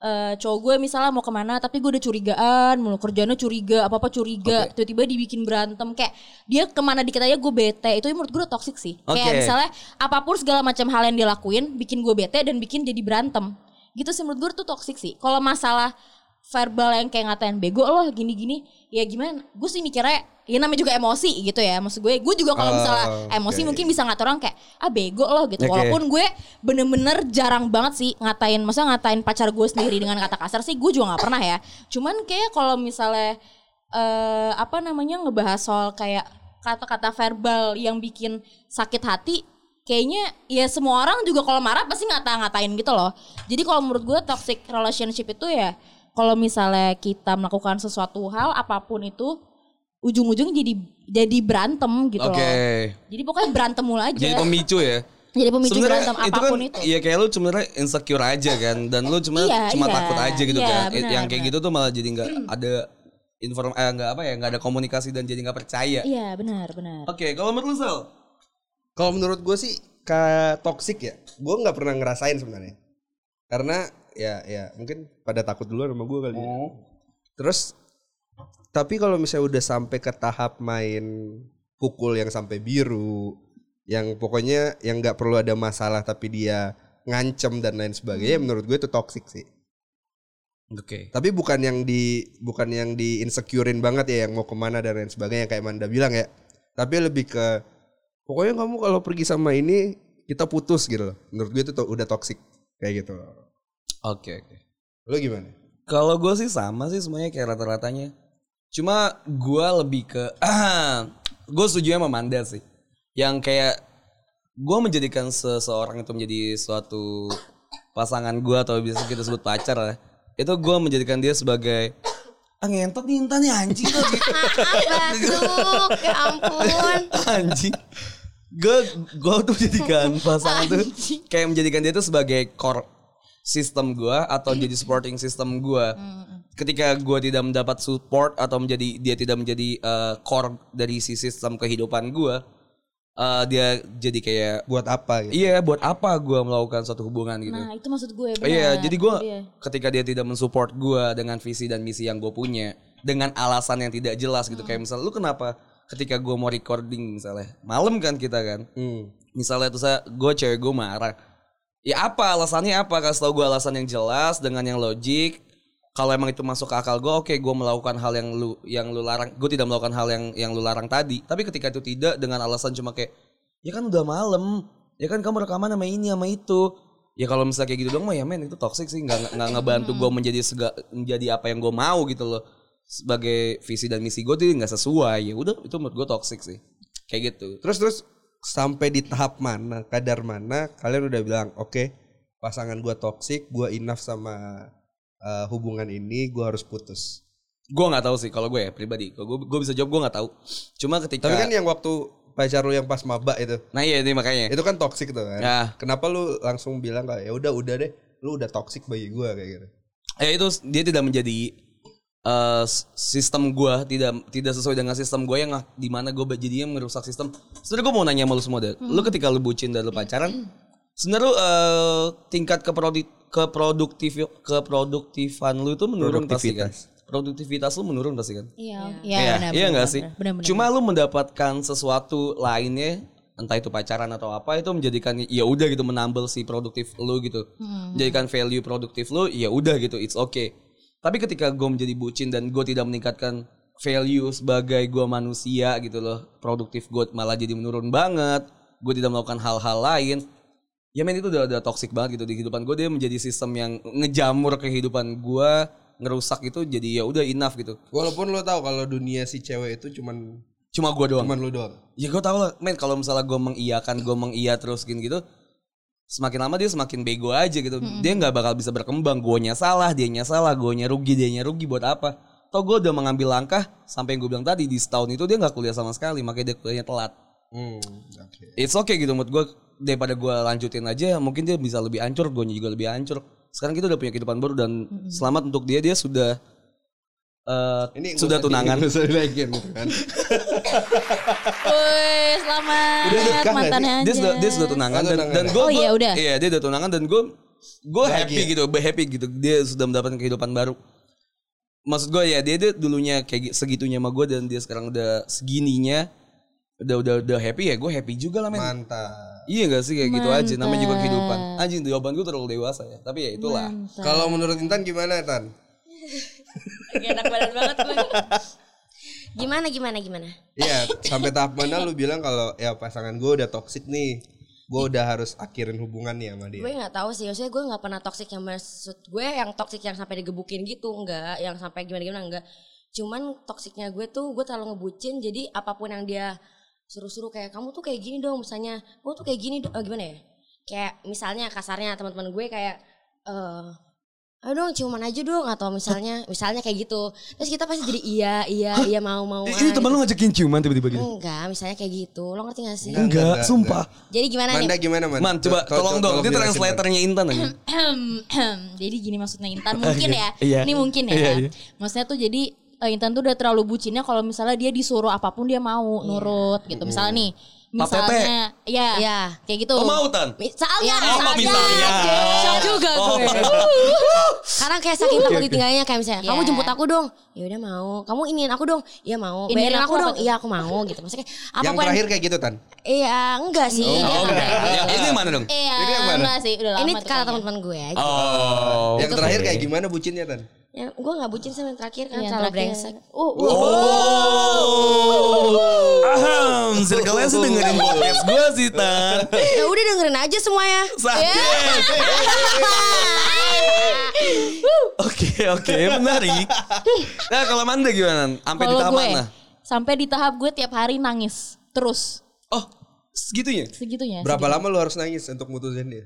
S4: eh cowok gue misalnya mau kemana tapi gue udah curigaan mulu kerjanya curiga apa apa curiga tiba-tiba dibikin berantem kayak dia kemana dikit aja gue bete itu menurut gue udah toxic sih
S2: Oke.
S4: kayak misalnya apapun segala macam hal yang dilakuin bikin gue bete dan bikin jadi berantem gitu sih menurut gue tuh toxic sih kalau masalah verbal yang kayak ngatain bego loh gini-gini ya gimana gue sih mikirnya ya namanya juga emosi gitu ya maksud gue gue juga kalau
S3: Oh,
S4: misalnya emosi
S3: oke.
S4: mungkin bisa ngatain orang kayak ah bego loh gitu
S2: Oke.
S4: walaupun gue bener-bener jarang banget sih ngatain maksudnya ngatain pacar gue sendiri dengan kata kasar sih gue juga nggak pernah ya cuman kayak kalau misalnya eh apa namanya ngebahas soal kayak kata-kata verbal yang bikin sakit hati kayaknya ya semua orang juga kalau marah pasti ngata-ngatain gitu loh jadi kalau menurut gue toxic relationship itu ya kalau misalnya kita melakukan sesuatu hal apapun itu ujung-ujung jadi jadi berantem gitu
S2: Oke.
S4: loh jadi pokoknya berantem mulu aja
S2: Jadi pemicu ya.
S4: jadi pemicu
S2: Sebenarnya
S4: berantem
S2: itu
S4: apapun
S2: kan,
S4: itu.
S2: Iya kayak lu sebenarnya insecure aja kan dan lu cuma
S4: Iya,
S2: cuma
S4: iya.
S2: takut aja gitu
S4: Iya,
S2: kan.
S4: benar,
S2: yang kayak
S4: benar.
S2: gitu tuh malah jadi nggak ada inform eh nggak apa ya nggak ada komunikasi dan jadi nggak percaya.
S4: Iya, benar, benar.
S2: Oke, kalau menurut lu Sel?
S3: Kalau menurut gue sih ke toksik ya. Gue nggak pernah ngerasain sebenarnya. Karena ya ya mungkin pada takut duluan sama gue kali. ya.
S2: Oh.
S3: Terus tapi kalau misalnya udah sampai ke tahap main pukul yang sampai biru, yang pokoknya yang nggak perlu ada masalah tapi dia ngancem dan lain sebagainya,
S2: Hmm.
S3: menurut gue itu toksik sih.
S2: Oke.
S3: Tapi bukan yang di bukan yang di insecurein banget ya yang mau kemana dan lain sebagainya kayak Manda bilang ya. Tapi lebih ke pokoknya kamu kalau pergi sama ini kita putus gitu loh. Menurut gue itu to- udah toxic kayak gitu loh.
S2: Oke, oke.
S3: Lo gimana?
S2: Kalau gue sih sama sih semuanya kayak rata-ratanya. Cuma gue lebih ke gue setuju sama Manda sih. Yang kayak gue menjadikan seseorang itu menjadi suatu pasangan gue atau bisa kita sebut pacar lah. ya. Itu gue menjadikan dia sebagai ah ngentot nih Intan nih anjing tuh
S5: Batuk, ya ampun.
S2: anjing gue gue tuh menjadikan pasangan tuh kayak menjadikan dia tuh sebagai core sistem gue atau jadi supporting system gue ketika gue tidak mendapat support atau menjadi dia tidak menjadi eh, core dari si sistem kehidupan gue dia jadi kayak
S3: Buat apa gitu?
S2: iya buat apa gue melakukan suatu hubungan gitu
S4: Nah, itu maksud gue. benar. ya.
S2: Iya, jadi gue
S4: Itu dia.
S2: ketika dia tidak mensupport gue dengan visi dan misi yang gue punya dengan alasan yang tidak jelas gitu kayak misalnya lu kenapa ketika gue mau recording misalnya malam kan kita kan
S3: Hmm.
S2: misalnya tuh saya gue cewek gue marah ya apa alasannya apa kasih tau gue alasan yang jelas dengan yang logik kalau emang itu masuk ke akal gue oke gue melakukan hal yang lu yang lu larang gue tidak melakukan hal yang yang lu larang tadi tapi ketika itu tidak dengan alasan cuma kayak ya kan udah malam ya kan kamu rekaman sama ini sama itu ya kalau misalnya kayak gitu dong mah ya men itu toxic sih nggak nggak- nggak ngebantu gue menjadi sega, menjadi apa yang gue mau gitu loh sebagai visi dan misi gue tuh nggak sesuai ya udah itu menurut gue toxic sih kayak gitu
S3: Terus terus sampai di tahap mana, kadar mana kalian udah bilang oke pasangan gue toksik, gue enough sama eh, hubungan ini, gue harus putus.
S2: Gue nggak tahu sih kalau gue ya pribadi. Gue gue bisa jawab gue nggak tahu. Cuma ketika
S3: Tapi kan yang waktu pacar lu yang pas maba itu,
S2: Nah iya ini makanya.
S3: itu kan toksik tuh kan.
S2: Ya.
S3: Kenapa lu langsung bilang kayak ya udah udah deh, lu udah toksik bagi gue kayak gitu.
S2: Ya itu dia tidak menjadi eh, s- sistem gua tidak tidak sesuai dengan sistem gue yang di mana gue jadinya merusak sistem. Sebenarnya gue mau nanya sama lu semua deh. Lu ketika lu bucin dan lu pacaran, sebenarnya lu, eh, tingkat keprodu keproduktif keproduktifan lu itu menurun pasti kan. Produktivitas lu menurun pasti kan.
S4: Iya,
S2: Iya, iya
S4: benar, benar,
S2: nggak
S4: benar,
S2: sih?
S4: Benar, benar.
S2: Cuma lu mendapatkan sesuatu lainnya, entah itu pacaran atau apa itu menjadikan ya udah gitu menambal si produktif lu gitu.
S4: Hmm.
S2: Menjadikan value produktif lu ya udah gitu, it's okay. Tapi ketika gue menjadi bucin dan gue tidak meningkatkan value sebagai gue manusia gitu loh, produktif gue malah jadi menurun banget. Gue tidak melakukan hal-hal lain. Ya men itu udah, udah toxic banget gitu di kehidupan gue dia menjadi sistem yang ngejamur kehidupan gue ngerusak itu jadi ya udah enough gitu.
S3: Walaupun lu tahu kalau dunia si cewek itu cuman
S2: Cuma gue doang.
S3: cuman lu doang.
S2: Ya gue tau lah, men kalau misalnya gue mengiyakan, gue mengiya terus gini gitu Semakin lama dia semakin bego aja gitu Dia nggak bakal bisa berkembang, guanya salah, dianya salah, guanya rugi, dianya rugi buat apa Toh gue udah mengambil langkah, sampai yang gue bilang tadi di setahun itu dia nggak kuliah sama sekali Makanya dia kuliahnya telat
S3: Hmm, oke.
S2: It's okay gitu menurut gue, daripada gue lanjutin aja mungkin dia bisa lebih hancur, guanya juga lebih hancur Sekarang kita udah punya kehidupan baru dan selamat untuk dia, dia sudah eh,
S3: nggak
S2: sudah
S3: usah di-
S2: tunangan
S3: nggak usah dinaikin gitu kan.
S4: Woi, selamat
S3: Udah nikah nggak
S4: mantannya aja.
S2: dia sudah dia sudah tunangan
S3: Oh,
S2: dan,
S3: tunangan
S2: dan
S3: ya?
S2: gue
S4: Oh, iya, udah.
S2: iya dia udah tunangan dan gue gue happy gitu be happy gitu dia sudah mendapatkan kehidupan baru maksud gue ya dia, dia dulunya kayak gi- segitunya sama gue dan dia sekarang udah segininya udah udah udah happy ya gue happy juga lah men
S3: Mantap.
S2: iya gak sih kayak gitu aja namanya juga kehidupan anjing jawaban gue terlalu dewasa ya tapi ya itulah
S3: Kalau menurut Intan gimana Tan?
S5: enak badan banget gue. Gimana gimana gimana?
S3: Iya, sampai tahap mana lu bilang kalau ya pasangan gue udah toksik nih, gue udah harus akhirin hubungan nih sama dia.
S5: Gue nggak tahu sih, maksudnya gue nggak pernah toxic yang maksud gue yang toxic yang sampai digebukin gitu, enggak, yang sampai gimana gimana enggak. Cuman toksiknya gue tuh gue terlalu ngebucin, jadi apapun yang dia suruh-suruh kayak kamu tuh kayak gini dong, misalnya, kamu tuh kayak gini dong, eh, gimana ya? Kayak misalnya kasarnya teman-teman gue kayak eh Ayo dong ciuman aja dong atau misalnya misalnya kayak gitu terus kita pasti jadi iya iya iya mau mau
S2: Eh, ini teman lu ngajakin ciuman tiba-tiba gitu
S5: enggak misalnya kayak gitu lo ngerti gak sih
S3: Enggak,
S2: enggak
S3: enggak, enggak.
S2: sumpah
S5: jadi gimana
S3: Manda
S5: nih
S3: gimana man?
S2: man coba
S3: Tol-
S2: tolong dong dia
S3: jelasin, Man.
S2: translatornya intan aja
S4: jadi gini maksudnya Intan mungkin
S2: Oke,
S4: ya.
S2: iya.
S4: Ini mungkin ya.
S2: Iya, iya.
S4: Maksudnya tuh jadi eh, Intan tuh udah terlalu bucinnya kalau misalnya dia disuruh apapun dia
S2: Iya.
S4: mau nurut gitu. Misalnya nih, misalnya ya,
S5: Iya.
S4: kayak gitu.
S2: oh mau tan
S5: misalnya
S4: Iya,
S2: apa misalnya?
S5: Shock juga
S2: ya. Oh.
S5: gue Karena kayak saking takut ditinggalnya kayak misalnya Kamu
S4: Iya.
S5: jemput aku dong Ya udah mau Kamu iniin aku dong Iya mau
S4: Iniin
S5: Bayarin aku
S4: aku apa
S5: dong
S4: tuh?
S5: Iya aku mau gitu Maksudnya kayak apa
S3: Yang terakhir kayak gitu Tan.
S5: Iya enggak sih
S3: Oh,
S2: Oh,
S5: Dia nggak
S2: enggak.
S5: kayak gitu.
S2: Yang itu yang mana dong?
S4: Iya,
S3: Ini yang mana?
S4: enggak sih, udah lama
S5: Ini
S4: tuh
S5: kata
S4: kayaknya.
S5: teman-teman gue aja
S2: Oh.
S3: yang terakhir
S4: gitu.
S3: kayak gimana bucinnya Tan?
S5: ya, Gue gak bucin sama yang terakhir Karena
S4: Iya,
S5: terlalu brengsek
S4: terakhir. Uh, uh,
S2: Oh. Aham, circle sih dengerin podcast gue sih, Tan.
S5: Ya udah dengerin aja semuanya
S2: Sakit.
S4: Iya.
S2: Oke, oke, menarik. Nah, kalau Manda gimana? Sampai di
S4: Kalau
S2: tahap
S4: gue
S2: mana?
S4: sampai di tahap gue tiap hari nangis terus
S2: Oh, segitunya.
S4: segitunya.
S3: Berapa lama lu harus nangis untuk mutusin dia?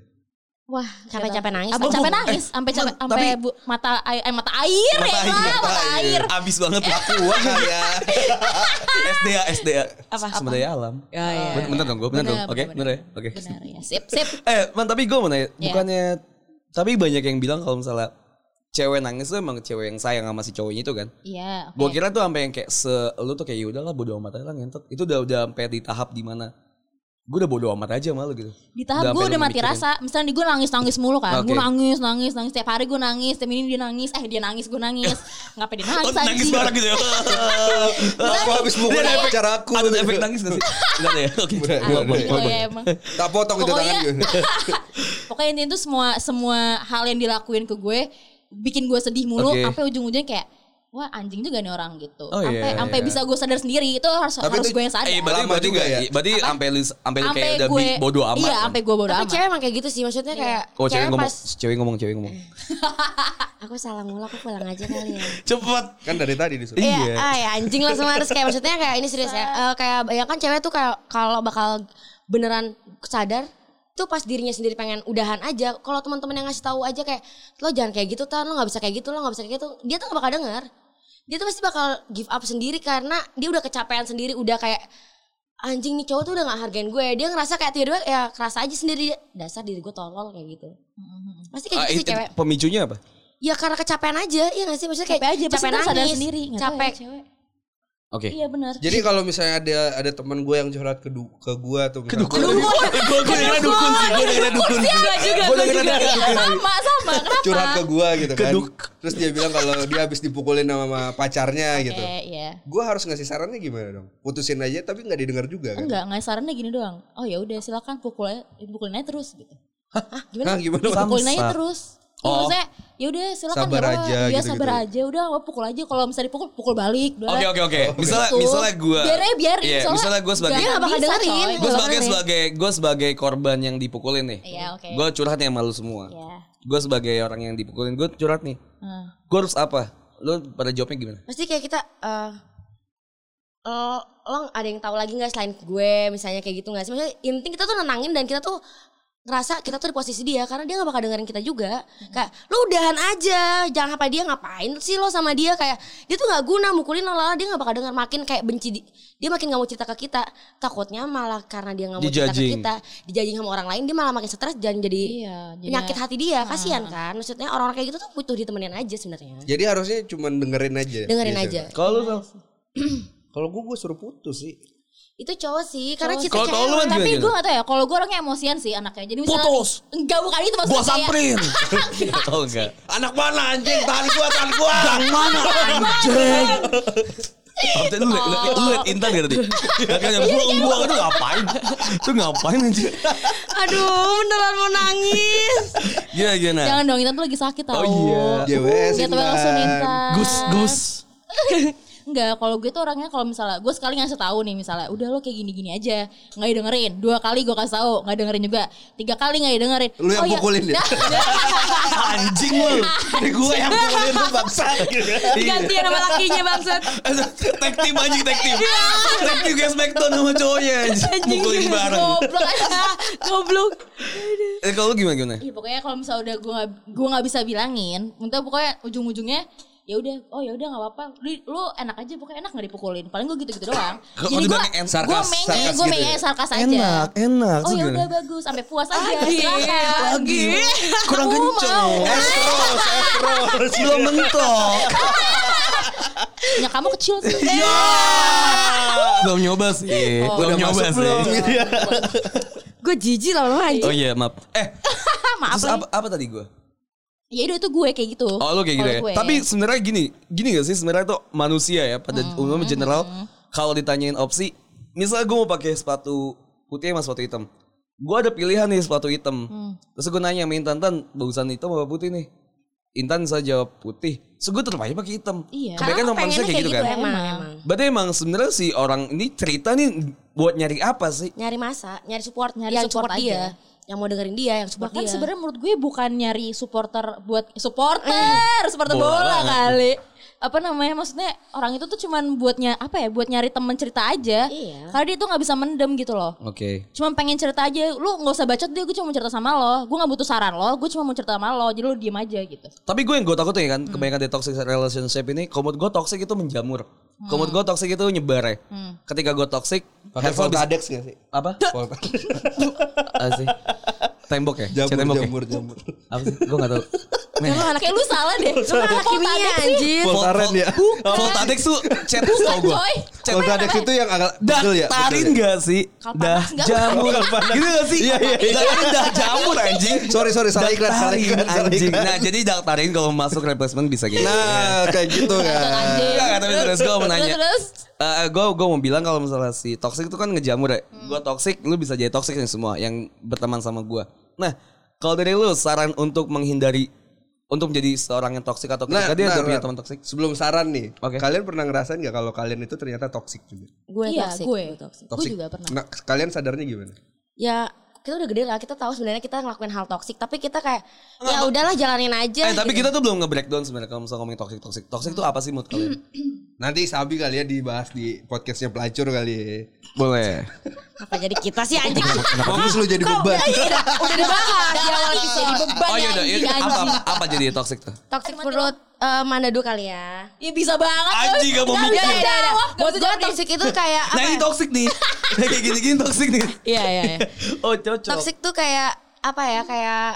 S4: Wah,
S5: Capek-capek nangis.
S4: Sampai capek
S2: Eh,
S4: nangis, sampai
S2: Man,
S4: capek
S2: tapi-
S4: sampai bu- mata air, eh, mata air ya, Pak, mata, air.
S2: Abis banget kan aku.
S3: Wah ya.
S2: SDA, SDA.
S4: Apa?
S2: Sumber daya alam.
S5: Ya, ya.
S2: Ben- Bener dong, gue bener
S4: Bener,
S2: dong. Oke,
S4: bener,
S2: bener ya. Oke.
S4: Benar ya. Sip, sip.
S2: Eh, man, tapi gue mau nanya,
S4: Iya.
S2: bukannya tapi banyak yang bilang kalau misalnya cewek nangis tuh emang cewek yang sayang sama si cowoknya itu kan.
S4: Iya, oke.
S2: Gue kira tuh sampai yang kayak se lu tuh kayak ya udahlah bodo amat aja lah ngentot. Itu udah udah sampai di tahap di mana gue udah bodo amat aja malu gitu.
S4: Di tahap gue
S2: sampai lu
S4: udah mati
S2: mikirin.
S4: rasa. Misalnya gue nangis-nangis mulu kan.
S2: Oke.
S4: Gue nangis, nangis, nangis. Tiap hari gue nangis. Tiap ini dia nangis. Eh dia nangis, gue nangis. Ngapain dia
S2: Oh,
S4: nangis
S2: nangis
S4: anjing?
S2: bareng gitu ya.
S3: Aku habis mukul
S2: Dia ada efek-
S3: pacar aku.
S2: Ada efek nangis gak sih? Enggak ada ya. Oke.
S3: Udah,
S4: Ah,
S3: udah, udah,
S4: gila
S3: udah.
S4: ya emang.
S3: Tak gitu, potong itu tangan
S4: Pokoknya-
S3: gue.
S4: Pokoknya intinya tuh semua semua hal yang dilakuin ke gue bikin gue sedih mulu
S2: Oke.
S4: sampai ujung-ujungnya kayak wah anjing juga nih orang gitu.
S2: Oh,
S4: Sampai
S2: iya,
S4: sampai
S2: iya.
S4: bisa gue sadar sendiri itu harus
S3: Tapi
S4: harus
S3: itu-
S4: gue yang sadar.
S2: Eh, berarti
S3: Lama
S2: berarti
S3: juga
S2: enggak
S3: ya?
S2: ya? Berarti sampai lu sampai lu kayak
S4: Sampai
S2: udah bi- bodo amat.
S4: Iya,
S2: kan?
S4: sampai gue bodo
S5: Tapi
S4: amat.
S5: cewek emang kayak gitu sih Maksudnya kayak
S2: Oh, cewek
S5: Cewek
S2: ngomong,
S5: pas "Ah,
S2: cewek ngomong, cewek ngomong.
S5: Aku salah mulu Aku pulang aja kali ya
S2: Cepet.
S3: Kan dari tadi disuruh.
S2: Iya.
S5: Iya, ah, ya anjing langsung harus kayak maksudnya kayak ini serius ya. Eh, kayak ya kan cewek tuh kayak kalau bakal beneran sadar tuh pas dirinya sendiri pengen udahan aja kalau teman-teman yang ngasih tahu aja kayak lo jangan kayak gitu tan lo nggak bisa kayak gitu lo nggak bisa kayak gitu dia tuh nggak bakal denger dia tuh pasti bakal give up sendiri karena dia udah kecapean sendiri udah kayak anjing nih cowok tuh udah gak hargain gue dia ngerasa kayak tiba-tiba ya kerasa aja sendiri dasar diri gue tolol kayak gitu
S4: Mhm.
S5: pasti kayak
S2: Ah,
S5: gitu
S2: it-
S5: sih
S2: it-
S5: cewek
S2: pemicunya apa?
S5: ya karena kecapean aja iya gak sih maksudnya kayak
S4: Capek aja, pasti ntar sadar
S5: nangis,
S4: sendiri, nggak tahu ya,
S5: capek
S4: cewek.
S2: Oke.
S4: Iya benar.
S3: Jadi kalau misalnya ada ada teman gue yang curhat ke du- ke gue tuh misalnya,
S2: Gue gue dengerin dukun sih, gue dengerin dukun.
S4: Iya juga,
S2: Gua
S4: gua
S2: dengerin
S4: juga. Iya,
S2: ada dukun.
S4: Sama, sama. Kenapa?
S3: curhat ke gue gitu kan.
S2: Keduk.
S3: Terus dia bilang kalau dia habis dipukulin sama, sama pacarnya gitu.
S4: Eh, iya.
S3: Gue harus ngasih sarannya gimana dong? Putusin aja tapi nggak didengar juga kan?
S4: Enggak, enggak sarannya gini doang. Oh ya udah silakan pukul aja, pukulin aja terus gitu. Hah,
S3: Hah, gimana?
S4: Pukulin
S2: Bangsat.
S4: aja terus. Ya,
S2: Oh.
S4: maksudnya ya udah silakan
S3: Sabar
S4: nggak apa-apa.
S3: aja,
S4: Iya
S3: gitu-gitu.
S4: sabar aja. Udah nggak apa-apa, pukul aja kalau misalnya dipukul pukul balik. udah.
S2: Oke oke oke. Misalnya
S4: Gitu.
S2: misalnya gue.
S4: Biar aja, biarin,
S2: Iya,
S4: soalnya
S2: misalnya gue sebagai
S5: dia gak bakal
S4: Bisa,
S5: dengerin
S4: coy.
S2: gue
S5: Nggak
S2: sebagai
S5: bakal
S2: sebagai gue sebagai korban yang dipukulin nih.
S4: Iya, oke.
S2: Gue curhat nih sama lu semua.
S4: Iya.
S2: Gue sebagai orang yang dipukulin, gue curhat nih.
S4: Nah.
S2: Gue harus apa? Lu pada jawabnya gimana?
S5: pasti kayak kita eh lo, lo ada yang tahu lagi nggak selain gue misalnya kayak gitu nggak sih maksudnya intinya kita tuh nenangin dan kita tuh ngerasa kita tuh di posisi dia karena dia nggak bakal dengerin kita juga
S4: Mm-hmm.
S5: kayak lu udahan aja jangan apa dia ngapain sih lo sama dia kayak dia tuh nggak guna mukulin lo lala dia nggak bakal denger makin kayak benci di- dia makin nggak mau cerita ke kita takutnya malah karena dia nggak mau cerita ke
S2: Dijudging.
S5: kita dijajing sama orang lain dia malah makin stres dan jadi
S4: Iya, jadi Ah.
S5: penyakit hati dia kasihan kan maksudnya orang-orang kayak gitu tuh butuh ditemenin aja sebenarnya
S3: Jadi harusnya cuma dengerin aja.
S4: Iya,
S3: gitu.
S5: dengerin
S3: biasanya.
S5: aja
S2: Kalau lu Sal?
S3: Kalau gue gue suruh putus sih.
S5: itu cowok sih karena cita
S2: Kalau tau lu kan
S4: tapi
S2: gimana?
S4: gue gak tau ya kalau gue orangnya emosian sih anaknya jadi misalnya
S2: Putus.
S4: enggak bukan itu maksudnya
S2: Gua
S4: kayak-
S2: samperin. Tahu enggak?
S3: Anak mana anjing? Tahan gue, tahan gue.
S2: Yang mana anjing? Tapi lu liat, lu liat Intan gak tadi? Dia Kayaknya buang-buang itu gitu, ngapain? Itu ngapain anjing?
S5: Aduh, beneran mau nangis.
S2: Gimana gimana?
S4: jangan dong Intan tuh lagi sakit tau
S2: Oh iya.
S3: JWS
S4: Dia tuh langsung Intan
S2: Gus Gus.
S4: Enggak, kalau gue tuh orangnya kalau misalnya gue sekali ngasih tahu nih misalnya, udah lo kayak gini-gini aja, nggak dengerin. Dua kali gue kasih tahu, nggak dengerin juga. Tiga kali nggak Oh, iya. dengerin.
S3: Lu yang pukulin dia?
S2: Anjing lu.
S3: Gue yang pukulin lu bangsa.
S2: Iya.
S4: ya.
S5: Gantian sama lakinya bangsat.
S2: Tag team anjing tag team. Tag team guys backdown sama cowoknya anjing. Mukulin bareng.
S4: iya. Goblok aja.
S5: Goblok.
S2: Eh kalau lu gimana gimana?
S4: Iya, pokoknya kalau misalnya udah gue nggak gue nggak bisa bilangin, untuk pokoknya ujung-ujungnya ya udah, oh ya udah nggak apa-apa. Lu, lu enak aja, pokoknya enak nggak dipukulin. Paling gue gitu-gitu doang.
S2: Kalau
S4: Jadi gue
S2: dibilang en-
S4: gue
S3: sarkas,
S4: menge,
S3: sarkas
S4: gue
S3: gitu
S4: menge
S3: ya?
S4: sarkas aja.
S2: Enak, enak.
S4: Oh
S2: Terus
S4: ya
S2: gimana?
S4: udah bagus, sampai puas aja.
S5: Lagi,
S4: silakan.
S2: lagi. Kurang
S4: Aku
S2: kenceng. Eh,
S4: mau. Eh,
S3: Es terus, es terus.
S2: Belum mentok.
S4: Ya kamu kecil sih.
S2: Belum nyoba sih. Iya. Oh. Belum nyoba sih.
S5: Gue jijik lama lama
S2: Oh iya, maaf. Eh,
S4: Maaf
S2: terus
S4: lagi.
S2: apa, apa tadi gue?
S4: ya udah itu gue kayak gitu
S2: Oh, lu kayak gitu
S4: Kalau
S2: ya.
S4: gue.
S2: Tapi sebenarnya gini, gini gak sih sebenarnya tuh manusia ya pada
S4: Mm-hmm.
S2: umumnya general kalau ditanyain opsi, misalnya gue mau pakai sepatu putih sama sepatu hitam. Gue ada pilihan nih sepatu hitam.
S4: Mm.
S2: Terus gue nanya sama Intan, Tan, bagusan hitam apa putih nih? Intan saya jawab putih. Terus gue tetap aja pakai hitam.
S4: Iya.
S2: Kebanyakan orang manusia kayak gitu kan.
S5: Emang, emang.
S2: Berarti emang sebenarnya si orang ini cerita nih buat nyari apa sih?
S5: Nyari masa, nyari support,
S4: Nyari
S5: nyari yang
S4: support
S5: support,
S4: aja.
S5: dia, yang mau dengerin dia, yang support
S4: bahkan
S5: dia.
S4: sebenarnya menurut gue bukan nyari supporter buat supporter
S5: Eh,
S4: supporter bola,
S2: Bola.
S4: kali apa namanya maksudnya orang itu tuh cuman buatnya apa ya buat nyari temen cerita aja
S5: Iya.
S4: karena dia tuh nggak bisa mendem gitu loh
S2: Oke.
S4: cuma pengen cerita aja lu nggak usah bacot dia gue cuma mau cerita sama lo gue nggak butuh saran lo gue cuma mau cerita sama lo jadi lu diem aja gitu
S2: Tapi gue yang gue takutin ya
S4: Hmm.
S2: kan, kebanyakan di toxic relationship ini, komod gue toxic itu menjamur. Komod
S4: Hmm.
S2: gue toxic itu nyebar ya. Ketika gue toxic,
S3: Pakai
S2: handphone bisa-
S3: Voltadex gak sih?
S2: apa?
S3: Voltadex.
S2: Apa sih? Tembok ya? Cat
S3: Jamur,
S2: tembok ya?
S3: jamur, jamur.
S2: Apa sih? Gue gak tau.
S5: Lu anak
S4: kayak Ya, lu salah deh lu kan anak
S5: kimia
S4: Voltadex sih
S5: iya, anjir.
S3: Voltaren ya.
S2: Voltadex tuh chat tau gue.
S4: coy.
S2: Chat
S3: Voltadex itu yang agak
S2: Dah
S3: pegel ya.
S2: tarin
S3: pegel ya?
S2: gak sih? Dah
S4: panas nggak?
S2: jamur. Gitu gak sih? Iya, iya, Dah jamur anjing.
S3: Sorry, sorry, salah iklan, salah
S2: Daktarin
S3: iklan, salah
S2: anjing.
S3: iklan.
S2: Nah jadi daktarin kalau masuk replacement bisa gitu.
S3: Nah, kayak gitu kan.
S4: anjing.
S2: Enggak, tapi terus gue mau nanya.
S4: Terus, terus.
S2: Eh, gue gue mau bilang kalau misalnya si toxic itu kan ngejamur ya. Gue toxic, lu bisa jadi toxic nih semua yang berteman sama gue. Nah, kalau dari lu saran untuk menghindari untuk menjadi seorang yang toxic atau ketika dia udah punya teman toxic?
S3: Sebelum saran nih,
S2: Oke.
S3: kalian pernah ngerasain gak kalau kalian itu ternyata toksik juga?
S5: Gue
S4: iya
S5: toxic,
S4: gue
S5: toxic.
S4: gue juga pernah
S3: Nah, kalian sadarnya gimana?
S5: Ya kita udah gede lah kita tahu sebenarnya kita ngelakuin hal toksik tapi kita kayak ya udahlah jalanin aja
S2: Eh tapi
S5: gitu.
S2: kita tuh belum nge-breakdown sebenarnya kalau misalnya ngomongin toxic toxic. Toxic tuh apa sih mood kalian?
S3: Nanti Sabi kali ya dibahas di podcastnya pelacur kali ya.
S2: Boleh.
S5: apa jadi kita sih anjing
S3: Fokus lu jadi beban.
S5: udah dibahas
S4: Udah
S5: ya
S4: lagi
S5: Allah.
S4: jadi beban
S2: Oh iya udah,
S4: anjing,
S2: iya. apa,
S4: anjing.
S2: apa, apa jadi toxic tuh?
S5: toxic perut Manado kali ya
S4: Ya bisa banget.
S2: Anjing, gak mau
S4: Nggak
S2: mikir.
S4: bisa jawab, nggak
S5: buat
S4: bisa
S5: gue
S4: jawab.
S5: toxic itu kayak
S2: Nah
S5: apa
S2: ini
S5: ya?
S2: toxic nih. Nah, Kayak gini-gini toxic nih.
S5: iya iya iya
S2: Oh cocok.
S5: toxic tuh kayak apa ya kayak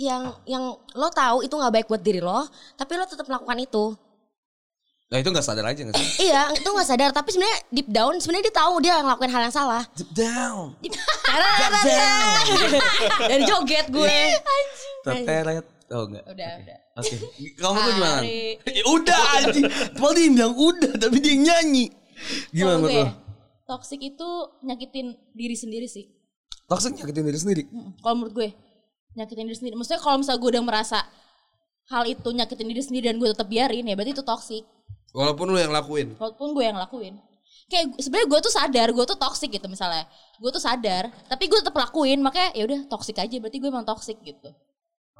S5: yang yang lo tahu itu nggak baik buat diri lo tapi lo tetap melakukan itu
S2: Nah itu gak sadar aja gak sih?
S5: iya itu nggak sadar tapi sebenarnya deep down sebenarnya dia tahu dia ngelakuin hal yang salah
S2: Deep down.
S5: dan joget gue
S4: Iya.
S2: Terperet. Oh enggak.
S4: Udah, udah.
S2: Oke. Kamu tuh gimana?
S4: Hari.
S2: Ya, udah anjing. Padahal dia yang bilang udah tapi dia yang nyanyi. Gimana
S4: Kalau
S2: menurut
S4: gue
S2: lo?
S4: ya, Toxic itu nyakitin diri sendiri sih.
S2: Toxic nyakitin diri sendiri.
S4: Mm-mm. Kalau menurut gue nyakitin diri sendiri. Maksudnya kalau misalnya gue udah merasa hal itu nyakitin diri sendiri dan gue tetap biarin ya berarti itu toxic.
S3: Walaupun lu yang lakuin.
S4: Walaupun gue yang lakuin. Kayak gu- sebenarnya gue tuh sadar gue tuh toxic gitu misalnya. Gue tuh sadar, tapi gue tetap lakuin makanya ya udah toxic aja berarti gue emang toxic gitu.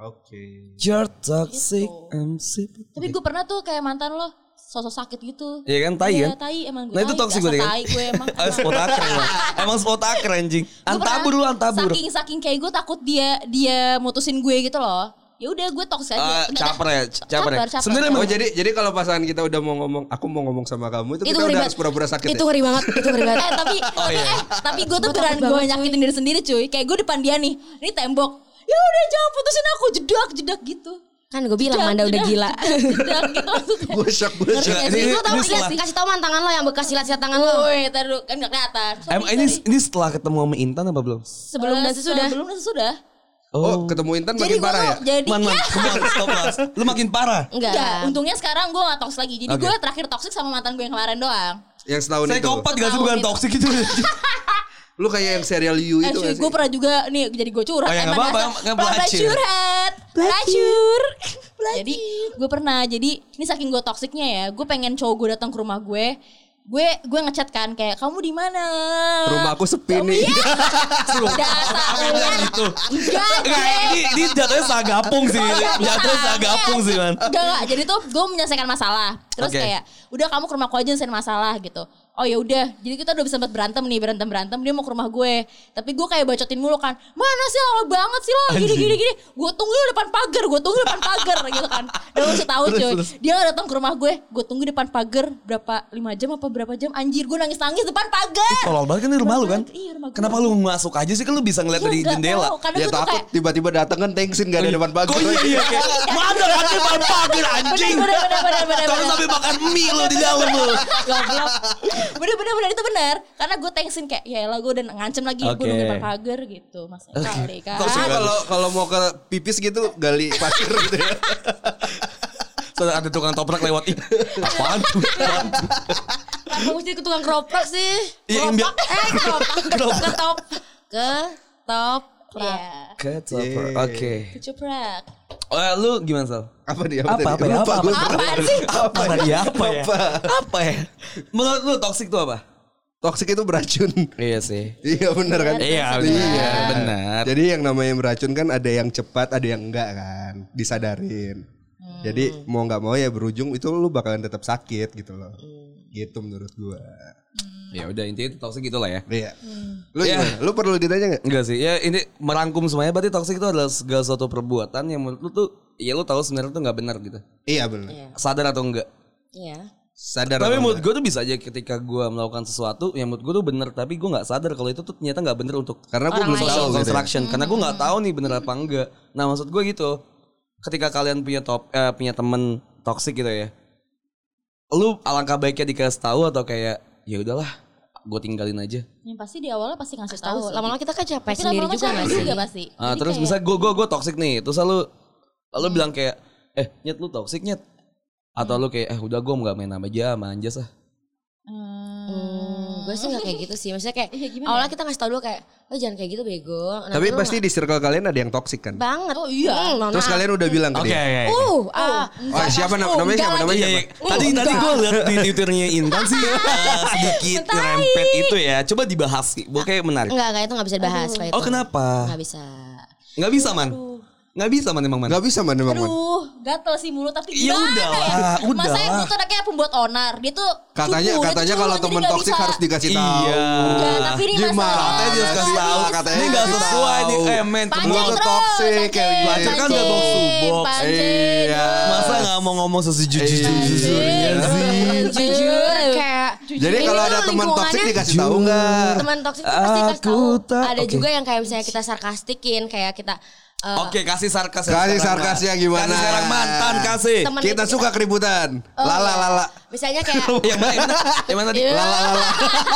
S3: Oke.
S2: You're toxic MC.
S4: Tapi gue pernah tuh kayak mantan lo sosok sakit gitu.
S2: Iya kan, tai
S4: Iya,
S2: kan?
S4: tai emang gue.
S2: Nah, itu
S4: tai.
S2: toxic
S4: Dasar
S2: berarti kan?
S4: Tai gue emang.
S2: Ah, spot akre emang. Emang spot akre anjing.
S4: Gua pernah
S2: Antabur lu antabur.
S4: Saking saking kayak gue takut dia dia mutusin gue gitu loh. Ya udah gue toxic
S2: Eh,
S4: aja. Enggak,
S2: caper ya, c- caper ya.
S4: Caper, caper.
S2: Sebenarnya
S3: Oh
S2: emang
S3: jadi jadi kalau pasangan kita udah mau ngomong, aku mau ngomong sama kamu itu,
S5: itu
S3: kita
S5: ngeri
S3: udah
S5: banget
S3: harus pura-pura sakit
S5: itu
S3: ya.
S5: ngeri banget itu ngeri banget
S4: Eh tapi
S2: Oh,
S4: tapi,
S2: iya.
S4: eh tapi gue tuh beran gue nyakitin diri sendiri cuy. Kayak gue depan dia nih, ini tembok. Ya udah jangan putusin aku jedak jedak gitu.
S5: kan gue bilang Manda udah gila
S4: Jedak gitu maksudnya.
S3: Gue shock gue
S4: Ngerti
S3: shock.
S4: gak
S2: Ini-
S4: sih?
S5: Lo
S2: ini
S5: tau gak sih?
S2: setelah-
S5: kasih tau man tangan lo yang bekas silat-silat tangan lo
S4: Woi, ntar dulu, kan gak kelihatan. Sorry,
S2: Em, ini
S4: sorry.
S2: ini setelah ketemu sama Intan apa belum?
S5: sebelum dan
S4: Eh,
S5: sesudah
S4: Sebelum dan sesudah.
S3: Oh, ketemu Intan
S4: Jadi
S3: makin
S4: gue
S3: parah
S4: tuh
S3: ya?
S4: jadi iya.
S2: Man, man, come on, stop mas. Lu makin parah.
S5: enggak
S4: Enggak, untungnya sekarang gue gak toxic lagi. Jadi
S2: Oke.
S4: gue terakhir toxic sama mantan gue yang kemarin doang.
S3: Yang setahun
S2: Saya
S3: itu.
S2: kompat gak sih bukan
S4: Setahun itu.
S2: toxic gitu. itu.
S3: Lu kayak yang serial You
S4: Eh,
S3: itu
S4: cuy,
S3: gak sih?
S4: gue pernah juga nih jadi gue curhat.
S2: Oh, ya, nggak
S4: Emang
S2: apa-apa,
S4: dasar
S2: nggak
S4: pelan-pelan
S2: pelacur.
S4: curhat. Pelacur. Jadi gue pernah. Jadi ini saking gue toksiknya ya. Gue pengen cowok gue datang ke rumah gue. Gue gue ngechat kan kayak kamu di mana?
S3: Rumah aku sepi nih.
S4: Iya, Dasar
S2: Apa yang
S4: lu.
S2: bilang itu?
S4: Enggak,
S2: Enggak, ya,
S4: Jack.
S2: ini, ini jatuhnya sagapung sih. Jatuhnya sagapung ya, sih, man.
S4: Enggak, enggak. Jadi tuh gue menyelesaikan masalah. Terus
S2: Oke.
S4: kayak, udah kamu ke rumah aku aja nyelesain masalah gitu. Oh ya udah, jadi kita udah bisa sempat berantem nih, berantem berantem. Dia mau ke rumah gue, tapi gue kayak bacotin mulu kan. Mana sih lama banget sih lo, gini
S2: Anjing.
S4: gini gini. Gue tunggu di depan pagar, gue tunggu di depan pagar gitu kan. Dan lu sih tahu cuy, dia datang ke rumah gue, gue tunggu di depan pagar berapa lima jam apa berapa jam. Anjir, gue nangis nangis depan pagar.
S2: Tolol banget kan ini rumah lu kan?
S4: Iya, rumah gue.
S2: Kenapa lu masuk aja sih kan lu bisa ngeliat
S4: Iya,
S2: dari
S4: nggak
S2: jendela.
S4: tahu, Karena
S3: Ya
S4: gue tuh
S3: takut
S4: kayak
S3: tiba-tiba datang kan thanksin gak ada depan pagar.
S2: Kok iya iya kayak mana kan depan pagar anjing.
S4: Bener, bener, bener, bener,
S2: Kalau
S4: bener.
S2: sampai makan mie lu di dalam lu.
S4: Goblok. bener bener bener itu bener karena gue thanksin kayak ya elah gue udah ngancem lagi
S2: Oke.
S4: gue nungguin depan pagar gitu mas kali kan
S3: Terus kalau kalau mau ke pipis gitu gali pasir gitu ya.
S2: Terus ada tukang toprak lewat. Ih, apaan tuh? Apaan tuh?
S5: Kenapa mesti ke tukang keroprak sih?
S2: Iya, yang
S5: Keroprak,
S2: biar-
S5: eh keroprak,
S2: Keroprak.
S5: ketop, ke top.
S4: ya
S2: Ketoprak. Oke.
S4: kecuprak
S2: Iya. Eh, lu gimana Sal?
S3: Apa dia?
S2: Apa apa ya? Apa apa?
S4: apaan sih
S2: Apa tadi apa ya?
S3: Apa?
S2: Apa ya? Menurut lu toxic tuh apa?
S3: Toksik itu beracun.
S2: Iya sih.
S3: Iya benar kan?
S2: Iya,
S3: Iya.
S2: benar.
S3: Jadi yang namanya beracun kan ada yang cepat, ada yang enggak kan. Disadarin.
S4: Hmm.
S3: Jadi mau nggak mau ya berujung itu lu bakalan tetap sakit gitu loh.
S4: Hmm.
S3: Gitu menurut gua.
S2: Ya udah intinya toxic itulah ya.
S3: Iya.
S4: Hmm.
S3: Lu gimana? Lu perlu ditanya nggak?
S2: Enggak sih, ya ini merangkum semuanya berarti toxic itu adalah segala suatu perbuatan yang menurut lu tuh ya lu tahu sebenarnya tuh nggak benar gitu.
S3: Iya benar.
S2: Sadar atau enggak.
S5: Iya.
S3: Sadar.
S2: Tapi
S3: apa
S2: menurut gue tuh bisa aja ketika gue melakukan sesuatu yang menurut gue tuh bener tapi gue nggak sadar kalau itu tuh ternyata nggak bener untuk
S3: Karena gue belum tahu
S2: social
S3: gitu. ya.
S2: construction karena gue nggak tahu nih bener apa enggak. Nah maksud gue gitu, ketika kalian punya top eh, punya temen toxic gitu ya, lu alangkah baiknya dikasih tahu atau kayak ya udahlah gue tinggalin aja.
S4: yang pasti di awalnya pasti ngasih tahu
S5: Tahu,
S4: sih.
S5: lama-lama kita kan capek
S4: Tapi
S5: sendiri
S4: lama-lama
S5: juga
S4: capek
S5: gak sih?
S4: juga pasti
S2: Ah,
S4: Jadi
S2: terus
S4: kayak,
S2: bisa gue gue gue toxic nih. Terus lu lu bilang kayak eh nyet lu toxic nyet. Atau lu kayak eh udah gue nggak main sama aja sama Anjas ah.
S4: hmm, Iya,
S5: Hmm, gue sih gak kayak gitu sih maksudnya kayak awalnya kita ngasih tau dulu kayak lo jangan kayak gitu bego
S4: Nah,
S5: Nanti
S3: Tapi
S5: lo
S3: pasti
S5: nggak-
S3: di circle kalian ada yang toxic kan?
S5: banget
S4: Oh, iya.
S5: Hmm, mohon
S3: Terus
S5: maaf.
S3: kalian udah bilang ke
S2: Oke. iya, Eh,
S3: dia.
S2: oke, oke.
S5: uh ah
S3: Oh, siapa nam- namanya siapa
S5: enggak
S3: namanya
S2: Iya,
S3: siapa?
S2: iya. Tadi tadi gue liat di twitternya Intan sih eh, sedikit rempet itu ya. Coba dibahas sih. Gue kayak menarik.
S5: enggak enggak itu nggak bisa dibahas kayak
S2: Oh
S5: itu.
S2: kenapa?
S5: nggak bisa
S2: Nggak bisa man. Nggak bisa man emang man.
S3: Gak bisa man emang man.
S4: Aduh, gatel sih mulut tapi
S2: Ya
S4: gimana
S2: udahlah,
S4: ya? Masa
S2: udahlah.
S4: gue tuh anaknya pembuat onar, dia tuh
S3: Katanya
S4: cupu, dia tuh
S3: katanya
S4: culun,
S3: kalau
S4: jadi
S3: temen
S4: nggak
S3: toksik
S4: bisa.
S3: harus dikasih tahu.
S2: Iya.
S4: Enggak, tapi ini
S3: Gimana?
S4: masalahnya
S2: Katanya dia harus kasih tahu.
S3: Katanya
S2: Ini nggak
S3: kasih
S2: sesuai nih.
S3: tahu.
S2: Eh men temen
S4: Pancing
S3: Mulut
S2: lu
S4: terus,
S3: toksik,
S4: pancing,
S3: kayak
S2: belajar kan udah box to
S4: pancing,
S2: box.
S4: pancing,
S3: Iya.
S2: Masa nggak mau ngomong sejujur-jujurnya
S4: Iya.
S2: sih?
S5: jujur kayak
S3: Jadi
S5: Ini kan
S3: kalau
S5: tuh
S3: ada teman
S5: lingkungannya-
S3: toksik dikasih tahu nggak?
S5: teman toksik tuh pasti kasih
S2: Aku
S5: tahu
S2: tak-
S5: ada
S2: Oke.
S5: juga yang kayak misalnya kita sarkastikin kayak kita eh,
S2: Oke kasih Iya. sarkas
S3: Kasih
S2: sekarang, Man.
S3: sarkasnya gimana?
S2: Kasih sekarang mantan kasih
S5: Temen
S3: Kita
S5: itu
S3: suka keributan.
S4: Oh.
S3: Lala lala
S5: misalnya kayak
S2: Yang mana, yang mana, yang mana tadi?
S5: Iya.
S3: lala lala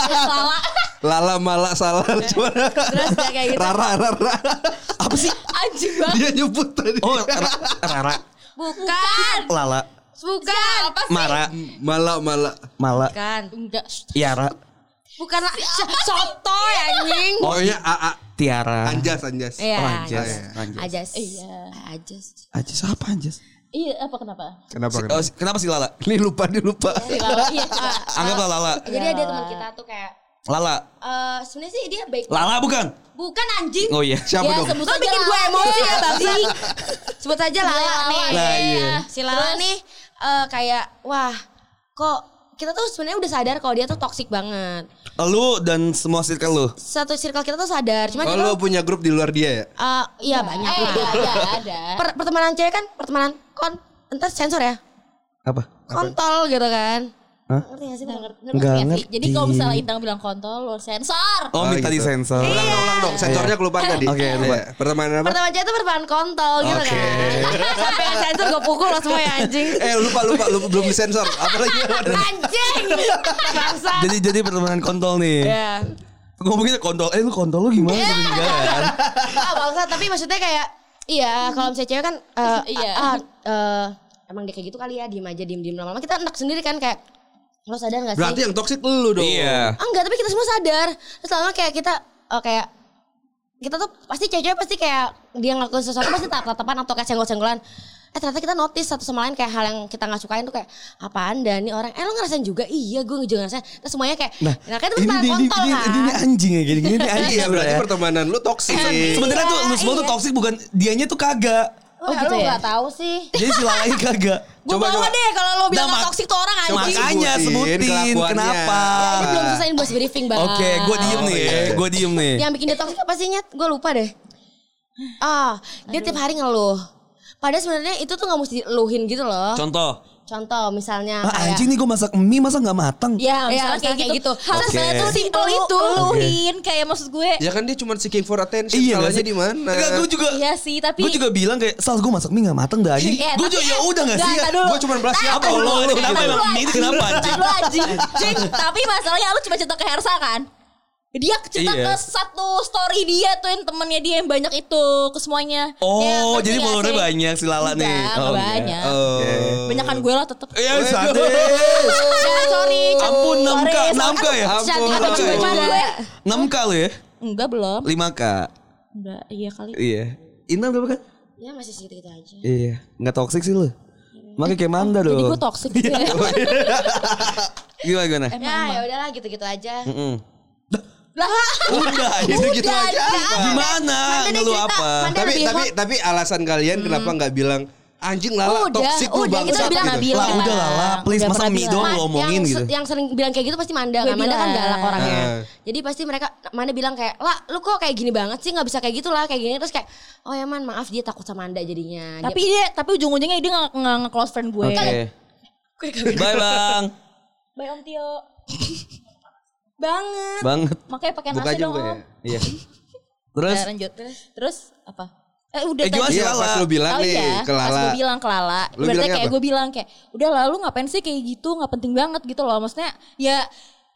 S5: lala
S3: lala mala salah cuma
S5: terus kayak kayak gitu
S3: rara rara
S2: Apa sih?
S5: anjing banget
S3: dia nyebut tadi.
S2: Oh Ra- Rara
S5: bukan
S2: Lala
S5: bukan apa
S2: Mara
S3: Mala mala.
S2: Mala
S5: bukan
S4: Enggak.
S2: Yara
S5: bukan lah. soto ya anjing
S2: Oh.
S3: Pokoknya AA
S2: iya. Tiara
S3: Anjas Anjas.
S5: Iya.
S2: Oh, Anjas. Anjas.
S5: Ajas.
S4: Iya.
S5: Ajas.
S2: Anjas apa Anjas?
S4: Iya, apa kenapa?
S3: Kenapa?
S2: Si-
S3: kenapa?
S2: oh, si- kenapa sih Lala?
S3: Ini lupa ini lupa.
S4: Dilawan, iya.
S2: Anggaplah
S3: Eh,
S2: Lala
S5: Jadi ada teman kita tuh kayak
S2: Lala
S5: eh sebenarnya sih dia baik.
S2: Lala bukan?
S5: Bukan anjing.
S2: Oh iya
S3: Siapa
S4: Ya,
S3: dong?
S4: sebut
S5: Lo
S4: aja
S5: bikin
S4: lah.
S5: gue emosi ya babi. Sebut aja Lala nih.
S2: Nah, iya.
S5: Si Lala nih eh, kayak wah kok kita tuh sebenarnya udah sadar kalau dia tuh toksik banget.
S2: Lu dan semua circle lu
S5: Satu circle kita tuh sadar. Cuma
S3: Oh
S5: kita
S3: lo punya grup di luar dia ya?
S5: eh, iya banyak.
S4: Eh,
S5: lah.
S4: ada, ada.
S5: Per- pertemanan cewek kan pertemanan kon entar sensor ya.
S2: Apa?
S5: Kontol gitu kan.
S2: Hah?
S5: Ngerti gak sih?
S4: Nggak ngerti- ngerti
S2: Nggak
S4: nggak sih?
S2: ngerti.
S4: Jadi kalau misalnya Intang bilang kontol, lo sensor.
S2: Oh, minta
S3: gitu.
S2: disensor
S3: Ulang dong, ulang dong. Sensornya kelupaan tadi.
S2: Oke, lupa.
S3: Iya. Pertemanan apa?
S5: Pertama cewek itu pertemanan kontol gitu
S3: Oke.
S5: kan. Sampai yang sensor gue pukul lo semua ya anjing.
S3: Eh lupa lupa lupa belum disensor. Apa lagi?
S5: Anjing. Bangsa.
S2: Jadi jadi pertemanan kontol nih
S3: Iya.
S5: Ya.
S2: Ngomonginnya kontol Eh lu kontol lu gimana? Enggak kan?
S5: Ah, bangsa tapi maksudnya kayak iya kalau misalnya cewek kan eh,
S4: Iya.
S5: ah, ah, eh, emang dia kayak gitu kali ya diem aja diem diem lama-lama kita enak sendiri kan kayak lo sadar gak sih?
S3: Berarti yang toksik lu dong.
S2: Iya
S5: Ah, enggak tapi kita semua sadar terus lama kayak kita eh, kayak kita tuh pasti cewek-cewek pasti kayak dia ngelakuin sesuatu pasti tatap-tatapan atau kayak senggol-senggolan eh ternyata kita notice satu sama lain kayak hal yang kita nggak sukain tuh kayak apaan dan nih orang eh lo ngerasain juga iya gue juga ngerasain terus semuanya kayak nah, kan itu
S2: ini,
S5: pertemanan
S2: ini,
S5: kontol
S2: ini,
S5: kan
S2: ini, ini anjing ya gini gini ini anjing
S3: Iya
S2: ya
S3: berarti
S2: berarti
S3: pertemanan lu toksik.
S5: Iya.
S2: sebenarnya tuh lu semua tuh toksik bukan dianya tuh kagak
S5: oh, gitu ya? gak tahu sih
S2: jadi si lalanya kagak
S5: gue
S3: Coba,
S5: bawa
S3: coba.
S5: deh kalau lo bilang
S2: Nah,
S5: nah,
S2: mak-
S5: toksik tuh orang anjing
S2: makanya
S3: Sebutin
S2: sebutin,
S3: kelakuannya.
S2: kenapa
S5: Ini belum selesai ini voice briefing bang Ya,
S2: oke gue diem nih
S3: iya, iya.
S2: gue diem nih
S5: Yang bikin dia toksik apa sih Nyet? Gue lupa deh. Ah, dia tiap hari ngeluh. Padahal sebenarnya itu tuh nggak mesti dieluhin gitu loh.
S2: contoh
S5: Contoh misalnya
S2: ah,
S5: kayak
S2: anjing nih gue masak mie masa nggak matang
S4: Ya,
S5: Iya, misalnya
S4: misalnya kayak,
S5: kayak gitu.
S4: gitu. Hal
S2: Oke.
S4: sebenarnya tuh simpel
S5: Elu-
S4: itu. Eluhin kayak maksud gue.
S3: Ya kan dia cuma seeking for attention.
S2: iya nggak
S3: Salahnya
S2: sih?
S3: di mana?
S2: enggak gue juga
S4: Iya sih, tapi
S2: gue juga bilang kayak sal gue masak mie nggak matang dah anjing
S4: Iya,
S2: gue
S4: tapi-
S2: juga ya udah nggak sih
S4: Nggak, ntar dulu. kan
S3: Gue cuma belas
S2: apa
S3: siapa
S2: lo
S3: lu?
S2: lo ya, kenapa
S4: Ntar
S2: emang
S4: dulu,
S2: mie itu kenapa anjing
S4: Lu anjing. Jing, tapi masalahnya lu cuma cerita ke Hersa kan? Dia cerita
S2: Iya.
S4: ke satu story dia tuh yang temennya dia yang banyak itu ke semuanya. Ya,
S2: oh
S4: ngerti
S2: jadi
S4: nggak
S2: followernya
S4: sih?
S2: banyak si lala nih
S4: Enggak,
S2: Oh, enggak.
S4: banyak.
S3: Oh.
S4: Banyakan gue lah tetep.
S2: Iya, sadis.
S5: Dan sorry,
S2: Ampun, 6K, 6K ya?
S3: Ampun,
S4: sorry,
S5: cantik
S3: Ampun,
S5: atau
S2: Ampun.
S5: cuma
S4: Ampun.
S5: gue.
S2: 6K lo ya?
S4: Enggak belum.
S2: 5K.
S4: Enggak, iya kali.
S2: Iya. Intan berapa kan?
S5: Ya masih segitu gitu aja.
S2: Iya. Nggak toxic sih lu. Makanya kayak Manda dong.
S4: Jadi gue toxic gitu ya.
S2: Gimana gimana?
S5: Ya ya udahlah gitu-gitu aja.
S2: Mm-mm.
S5: Lah,
S2: Udah, itu gitu aja. Gimana?
S5: Manda Iya. Kan dia
S2: Ngeluh
S5: cerita,
S2: apa?
S5: Manda
S3: Eh, Tapi tapi
S5: lebih hot. Hmm.
S3: tapi alasan kalian kenapa nggak bilang anjing lala
S5: Udah,
S3: toksik lu
S5: udah, kita
S3: bangsat
S5: bilang nggak
S3: gitu.
S5: bilang.
S2: Lah udah lah, lah. please
S4: kan. Udah
S2: masa
S4: pernah
S2: mie
S4: bilang.
S2: doang
S5: Ma-
S2: lo omongin
S5: yang,
S2: gitu.
S5: se- yang sering bilang kayak gitu pasti Manda
S4: Gue
S5: kan. Manda kan
S4: bilang.
S5: galak orangnya.
S3: Ah.
S5: Jadi pasti mereka Manda bilang kayak, "Lah, lu kok kayak gini banget sih? nggak bisa kayak gitu lah, kayak gini." Terus kayak, "Oh ya Man, maaf dia takut sama Anda jadinya." Dia-
S4: tapi dia tapi ujung-ujungnya dia nggak nggak nge-close friend gue.
S2: Oke. Bye bang.
S4: Bye Om Tio. Banget.
S2: Banget.
S4: Makanya pakai
S3: Buka
S4: nasi
S3: aja
S4: dong.
S3: buka ya.
S4: Om.
S3: Iya.
S2: Terus
S4: Ya, lanjut. Terus apa? Eh udah
S2: Eh, gimana
S4: tadi. Oh,
S3: Iya
S2: Lala.
S3: pas lu bilang nih ke
S4: pas
S3: lala.
S4: gue bilang ke Lala,
S3: Lu
S4: berarti
S3: bilangnya
S4: kayak
S3: apa?
S4: gue bilang kayak, udah lalu ngapain sih kayak gitu, nggak penting banget gitu loh, maksudnya ya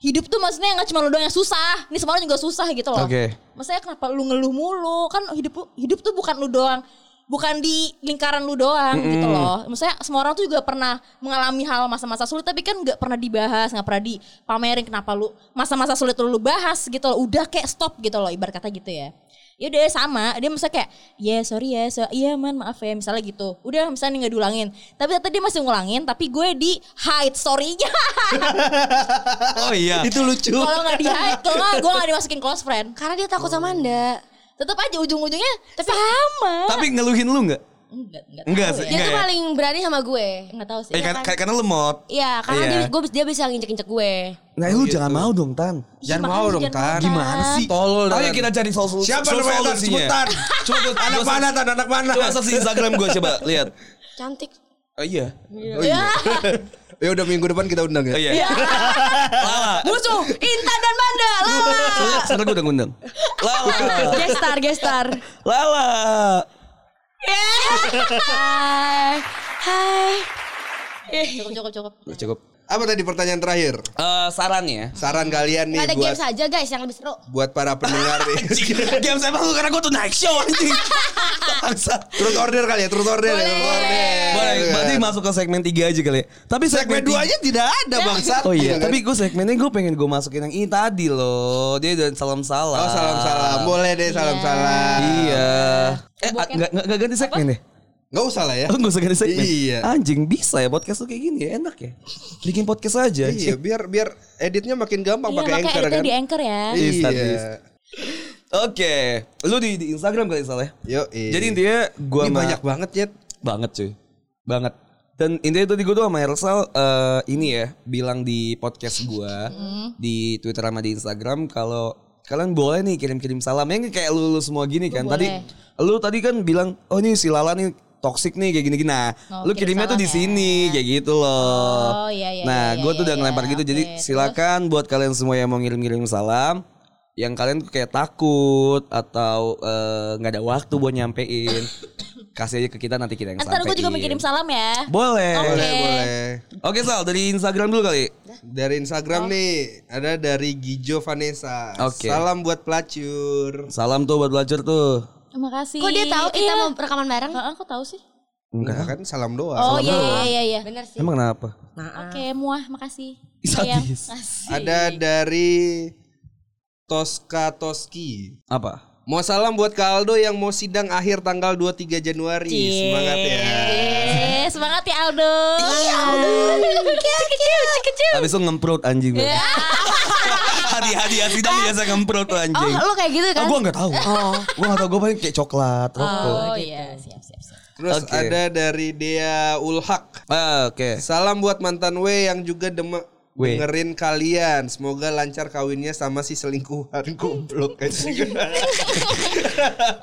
S4: hidup tuh maksudnya nggak cuma lu doang yang susah, ini semua orang juga susah gitu loh.
S2: Oke.
S4: Maksudnya kenapa lu ngeluh mulu? Kan hidup lu- hidup tuh bukan lu doang bukan di lingkaran lu doang gitu loh. Maksudnya semua orang tuh juga pernah mengalami hal masa-masa sulit tapi kan nggak pernah dibahas, nggak pernah dipamerin kenapa lu masa-masa sulit lu, lu bahas gitu loh. Udah kayak stop gitu loh ibarat kata gitu ya. Ya udah sama, dia misalnya kayak ya sorry ya, so- iya man maaf ya misalnya gitu. Udah misalnya nggak diulangin. Tapi ternyata dia masih ngulangin tapi gue di hide story-nya.
S2: Oh iya.
S3: Itu lucu.
S4: kalau nggak di hide, kalau nggak gue nggak dimasukin close friend.
S5: Karena dia takut
S2: Oh.
S5: sama anda.
S4: Tetap aja ujung-ujungnya sama.
S2: Tapi ngeluhin lu nggak?
S4: Enggak, enggak.
S2: Enggak
S4: tahu
S2: sih,
S4: ya.
S5: Dia
S2: enggak
S5: tuh
S2: ya.
S5: paling berani sama gue.
S4: Enggak tahu sih.
S2: Eh, karena, karena lemot.
S5: Iya,
S4: kan.
S5: karena
S2: Iya.
S5: Dia, gue, dia bisa nginjek-injek gue.
S2: Nah, lu jangan mau dong, Tan.
S3: Jangan
S4: Ih,
S3: mau
S4: makanya
S3: dong,
S4: jangan
S3: Tan.
S4: mau,
S2: Gimana
S4: Tan.
S2: sih?
S3: Tolol,
S2: Ayo
S3: Tan.
S2: kita cari sol sol-
S3: Siapa
S2: sol-
S3: namanya, Tan?
S2: solusinya.
S3: Sebut, Tan.
S2: Coba tuh,
S3: Anak
S2: gua-
S3: mana Tan? Anak mana?
S2: Coba search Instagram gue coba lihat.
S5: Cantik.
S2: Oh iya.
S3: Oh, iya. ya udah minggu depan kita undang
S2: Oh
S3: ya.
S2: iya. Lala.
S4: Musuh Intan dan Banda Lala.
S2: Soalnya sekarang gue udah ngundang. Lala.
S5: gestar, gestar.
S2: Lala.
S5: Hai. Hai.
S4: Cukup cukup cukup.
S2: Udah cukup.
S3: Apa tadi pertanyaan terakhir?
S2: Eh, sarannya.
S3: Saran kalian nih
S5: Ada
S3: buat
S5: games aja guys yang lebih seru.
S3: buat para pendengar nih.
S2: Game saya lu karena gue tuh naik show anjing. Bangsa.
S3: Truth order kali ya, truth order. ya, Truth order. Iya.
S2: Boleh, berarti masuk ke segmen 3 aja kali ya. Tapi
S3: segmen
S2: Eh. segmen,
S3: dua
S2: tiga-
S3: aja tidak ada bangsat.
S2: Oh iya,
S3: Gitu kan.
S2: tapi gue segmennya gue pengen gue masukin yang ini tadi loh. Dia dan salam-salam.
S3: Oh salam-salam, boleh deh salam-salam.
S2: Iya. Eh, a- nggak nggak- nggak ganti segmen deh.
S3: Gak usah lah ya.
S2: Oh, nggak usah ganti segmen.
S3: Iya.
S2: Anjing bisa ya podcast tuh kayak gini ya, enak ya. Bikin podcast aja.
S3: Iya, biar biar editnya makin gampang
S4: Iya
S3: pakai
S4: makanya
S3: anchor
S4: editnya
S3: kan.
S4: di anchor ya.
S2: Instant
S3: Iya.
S2: list. Oke, lu di, di Instagram kali salah. ya?
S3: Yo, iya.
S2: Jadi intinya gue
S3: ini banyak banget ya.
S2: banget cuy banget dan intinya tadi gue tuh sama Ersal eh, ini ya bilang di podcast gue
S4: Hmm.
S2: di Twitter sama di Instagram kalau kalian boleh nih kirim-kirim salam yang kayak lu, lu semua gini kan tadi lu tadi kan bilang oh ini si Lala nih toksik nih kayak gini gini nah
S4: Oh,
S2: lu
S4: kirim
S2: kirimnya tuh di
S4: salam ya.
S2: sini kayak gitu loh
S4: Oh, iya, iya,
S2: nah
S4: iya,
S2: gue
S4: iya,
S2: tuh udah
S4: iya,
S2: ngelempar gitu
S4: oke,
S2: jadi
S4: terus?
S2: silakan buat kalian semua yang mau ngirim-ngirim salam yang kalian tuh kayak takut atau eh, nggak ada waktu buat nyampein kasih aja ke kita nanti kita yang
S4: Eh, Ntar gue juga
S3: iya.
S4: mengirim salam ya.
S2: Boleh.
S3: Boleh, Eh, boleh.
S2: Oke Sal, dari Instagram dulu kali.
S3: Dari
S4: Oh.
S3: Instagram nih ada dari Gijo Vanessa.
S2: Oke.
S3: Salam buat pelacur.
S2: Salam tuh buat belajar tuh.
S4: Makasih.
S5: Kok dia tahu kita
S4: Iya.
S5: mau rekaman bareng?
S4: Heeh, kok tahu sih?
S3: Enggak kan salam doang.
S4: Oh
S3: Salam
S4: iya
S3: doang.
S4: iya iya iya.
S5: Bener sih. Nah,
S2: Emang kenapa?
S4: Oke, muah makasih. Sayang.
S2: Sadis.
S4: Makasih.
S3: Ada dari Tosca Toski.
S2: Apa?
S3: Mau salam buat Kaldo yang mau sidang akhir tanggal 23 Januari. Semangat ya.
S4: Eh, semangat ya Aldo. Iya. Kecil kecil kecil.
S2: Abis itu ngemprut anjing.
S4: Iya.
S2: Hati-hati ya sidang
S4: Ah.
S2: biasa ngemprut tuh anjing.
S5: Oh, lu kayak gitu
S2: Ah,
S5: kan?
S2: gua nggak tahu. Gua nggak tahu. Gua paling kayak coklat, rokok.
S4: Oh iya, siap siap siap.
S3: Terus
S2: Oke.
S3: ada dari Dea Ulhak.
S2: Ah, Oke.
S3: Salam buat mantan W yang juga demek
S2: W.
S3: dengerin kalian. Semoga lancar kawinnya sama si selingkuhan goblok.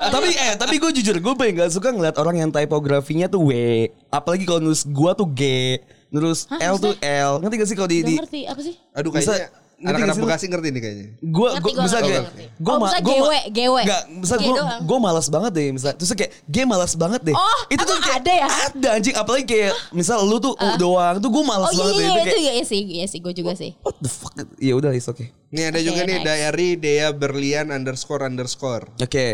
S2: tapi eh tapi gue jujur gue paling gak suka ngeliat orang yang typografinya tuh W apalagi kalau nulis gua tuh G terus L tuh L ngerti gak sih kalau di,
S4: Gak
S2: di
S4: ngerti apa sih?
S3: Aduh
S2: Bisa-
S3: kayaknya
S2: ngerti
S3: anak-anak
S2: gak sih lu?
S3: Bekasi ngerti nih kayaknya.
S2: gue
S4: Ngerti,
S2: gue
S4: gua
S2: bisa
S4: ngerti,
S2: gue
S4: ngerti.
S2: gue
S4: Oh,
S2: ma
S4: bisa
S2: gue
S4: gewe, gewe.
S2: nggak bisa
S4: G
S2: gue
S4: doang.
S2: gue malas banget deh misal terus kayak gue malas banget deh
S4: Oh, emang ada ya?
S2: ada anjing apalagi kayak misal lu tuh U doang tuh gue malas
S4: Oh iya
S2: banget deh
S4: iya itu
S2: kayak Oh,
S4: iya sih, iya sih gue juga sih.
S2: what the fuck ya udah is okay
S3: Nih ada juga nih dari Dea Berlian underscore underscore.
S2: oke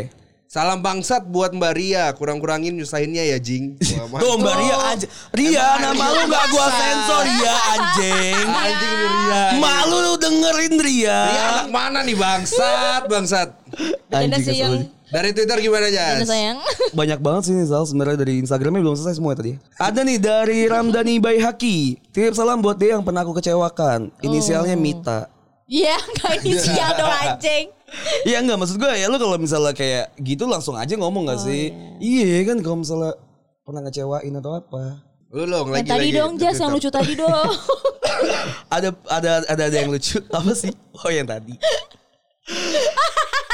S3: Salam bangsat buat Mbak Ria. Kurang-kurangin nyusahinnya ya Jing. Wah, ma-
S2: Tuh Mbak
S4: Oh.
S2: Ria aja Ria nama lu gak gua sensor Ria anjing
S3: Anjing ini Ria.
S2: Malu lu dengerin Ria
S3: Ria Iya, anak mana nih bangsat bangsat.
S2: Anjing kesel
S5: sih yang-
S2: aja.
S3: Dari Twitter gimana
S4: Ada
S3: Jas?
S4: sayang.
S2: Banyak banget sih ini Sal sebenarnya dari Instagramnya belum selesai semua tadi. Ada nih dari Ramdhani Baihaki. Titip salam buat dia yang pernah aku kecewakan. Inisialnya Mita.
S4: Iya, enggak inisial dong anjing.
S2: Iya enggak maksud gue ya lu kalau misalnya kayak gitu langsung aja ngomong gak sih? Iya kan kalau misalnya pernah ngecewain atau apa.
S3: Lu dong
S4: Yang
S3: lagi
S4: tadi
S3: lagi.
S4: dong Jas yang lucu tadi dong.
S2: Ada ada ada ada yang lucu apa sih? Oh yang tadi.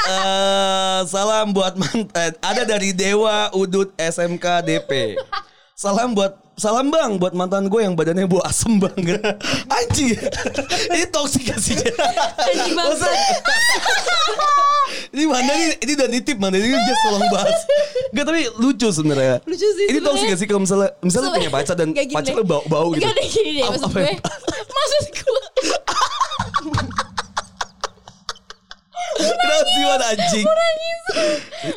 S2: Eh salam buat mantan. Ada dari Dewa Udut SMK DP. Salam buat salam bang buat mantan gue yang badannya bau asem banget. Anjing. Ini toksik gak sih?
S4: Anjing banget.
S2: ini mana ini, ini udah nitip mana ini dia tolong bahas Gak tapi lucu sebenarnya
S4: Lucu sih
S2: ini tau
S4: sebenarnya.
S2: sih gak sih kalau misalnya misalnya lu punya
S4: Sebenarnya-
S2: pacar dan
S4: Nggak gini
S2: pacar
S4: deh.
S2: lu bau bau gitu
S4: Enggak deh gini deh
S2: Apa-
S4: maksud
S2: apa ya?
S4: gue.
S2: yang-
S4: Maksud gue.
S2: kenapa sih Wan, anjing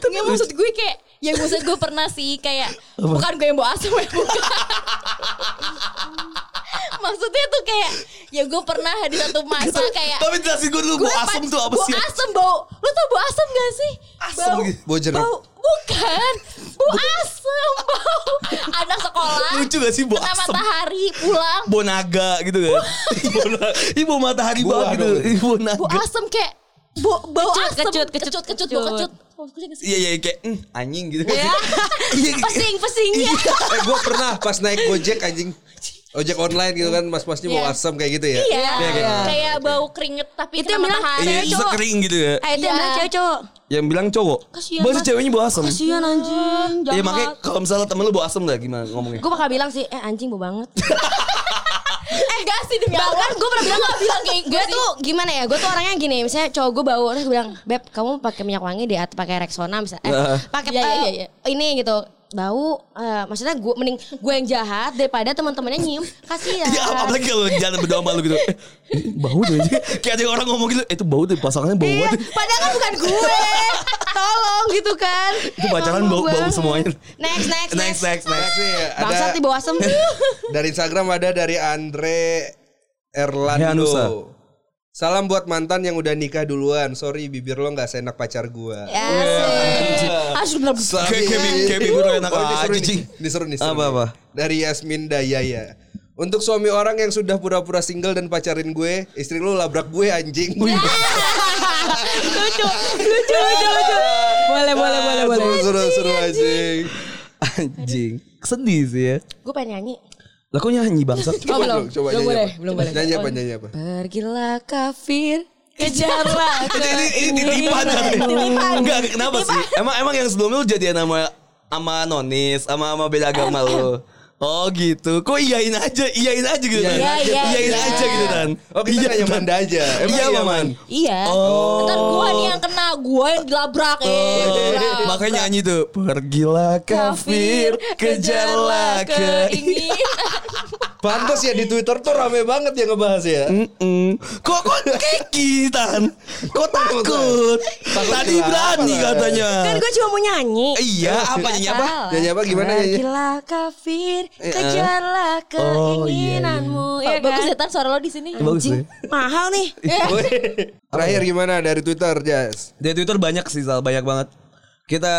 S4: Enggak maksud gue kayak yang maksud gue pernah sih kayak bukan gue yang bawa asam ya bukan maksudnya tuh kayak ya gue pernah di satu masa kayak
S2: Tapi jelasin gue dulu, bau asem
S4: pan-
S2: tuh apa sih?
S4: Bau asem bau. Lu tau bau asem gak sih?
S2: Asem gitu.
S3: Bau jeruk.
S4: Bau bukan. Bau asem bau. Anak sekolah.
S2: Lucu gak sih bau
S4: kena
S2: asem?
S4: matahari pulang.
S2: Bau naga gitu kan. Bona- Ih bau matahari
S3: Buah
S2: banget gitu.
S3: dong.
S2: Ih bau
S4: Bau
S2: naga.
S4: asem kayak bau bau
S5: Kecut,
S4: asem. Iya.
S5: kecut, kecut,
S4: kecut, kecut, bau
S5: kecut.
S4: kecut. Bau kecut gak sih?
S2: Iya iya kayak "Hmm, anjing gitu.
S4: Ya.
S2: Iya,
S4: Pesing, pesing ya.
S3: eh, gue pernah pas naik gojek anjing ojek online gitu kan mas-masnya mau
S4: Iya.
S3: asam kayak gitu ya
S4: Iya.
S3: kayak-
S4: Kayak bau keringet tapi
S5: Itu
S4: kena
S5: yang bilang,
S4: matahari.
S2: Iya,
S5: Cewek
S2: bisa
S5: cowok.
S2: kering gitu ya.
S5: Eh itu yang
S4: Iya.
S5: bilang cewek cowok.
S2: Yang bilang cowok.
S5: Kasihan,
S2: Masa
S5: Mas.
S2: ceweknya bau asem.
S5: Kasihan anjing.
S2: Iya
S5: Jangan.
S2: makanya kalau misalnya temen lu bau asem lah gimana ngomongnya?
S5: Gue bakal bilang sih, eh anjing bau banget.
S4: Eh gak sih demi
S5: Bahkan
S4: Allah.
S5: gue Ya, kan pernah bilang
S4: Nggak bilang kayak
S5: gue tuh gimana ya? Gue tuh orangnya gini, misalnya cowok gue bau, terus gue bilang, beb, kamu pakai minyak wangi deh atau pakai Rexona misalnya, eh,
S2: Heeh.
S5: pakai
S4: Iya, iya,
S5: eh,
S4: iya,
S5: ini gitu bau. eh, maksudnya gue mending gue yang jahat daripada teman-temannya nyium. Kasihan.
S2: Iya, ap- apalagi kalau jalan berdua sama lu gitu. Eh, ini bau deh. Kayak ada orang ngomong gitu, eh, itu bau deh pasangannya bau
S5: Iya,
S2: banget.
S5: padahal kan bukan gue. Tolong gitu kan.
S2: Itu pacaran
S5: Ngambek
S2: bau bau
S5: banget.
S2: semuanya.
S5: Next, next,
S2: Next, next, next.
S3: Next nih,
S5: Bangsat nih bau asem.
S3: dari Instagram ada dari Andre Erlando.
S2: Heanusa.
S3: Salam buat mantan yang udah nikah duluan. Sorry bibir lo nggak seenak pacar gua.
S5: Asik. Asik bener.
S2: Kayak kayak bi- kayak bibir lo enak
S3: Oh, ini seru
S2: aja,
S3: nih.
S2: Cing.
S3: Ini seru nih. seru
S2: Apa,
S3: nih.
S2: apa?
S3: Dari Yasmin Dayaya. Untuk suami orang yang sudah pura-pura single dan pacarin gue, istri lu labrak gue anjing.
S5: Iya,
S4: lucu, lucu, lucu, lucu.
S5: Boleh, boleh, boleh, boleh.
S3: Seru, seru, seru anjing.
S2: Anjing. Sedih sih ya.
S5: Gue pengen nyanyi.
S2: Lah kok nyanyi bangsa?
S3: Coba
S5: belum.
S3: dong, coba
S5: Belum
S3: nyanyi
S5: boleh,
S3: apa.
S5: belum boleh.
S3: Nyanyi apa, nyanyi apa?
S5: Pergilah kafir, kejarlah.
S2: ini ini titipan tapi. Enggak, kenapa sih? Emang emang yang sebelumnya lu jadian sama sama nonis, sama sama beda agama lu. Oh gitu, kok iyain aja, iyain aja gitu kan?
S4: Iya, iya,
S2: iyain
S4: iya.
S2: aja gitu kan?
S3: Oh, kita
S2: Iya,
S3: nanya
S2: Dan.
S3: Manda aja. Emang
S2: Iya,
S3: iya,
S2: Maman.
S3: Man?
S5: Iya.
S2: Oh.
S4: Ntar gue nih yang kena, gue yang dilabrak eh.
S2: Oh, makanya nyanyi tuh Pergilah kafir Kejarlah keingin
S3: Pantes ya di Twitter tuh rame banget yang ngebahas ya.
S2: Hmm. Mm-mm. Kok kok kekitan Kok takut
S3: Takut
S2: Tadi
S3: kenapa?
S2: berani katanya
S5: Kan gue cuma mau nyanyi.
S2: Iya apa nyanyi apa
S5: Salah.
S3: Nyanyi apa gimana ya?
S5: Pergilah kafir,
S3: eh.
S5: kejarlah
S2: Oh, iya,
S5: keinginanmu.
S4: Oh,
S5: ya
S4: Bagus
S5: kan?
S4: ya Tan suara lo di sini.
S2: Bagus sih
S5: Mahal nih.
S3: Terakhir gimana dari Twitter, Jas?
S2: Di Twitter banyak sih Sal Banyak banget Kita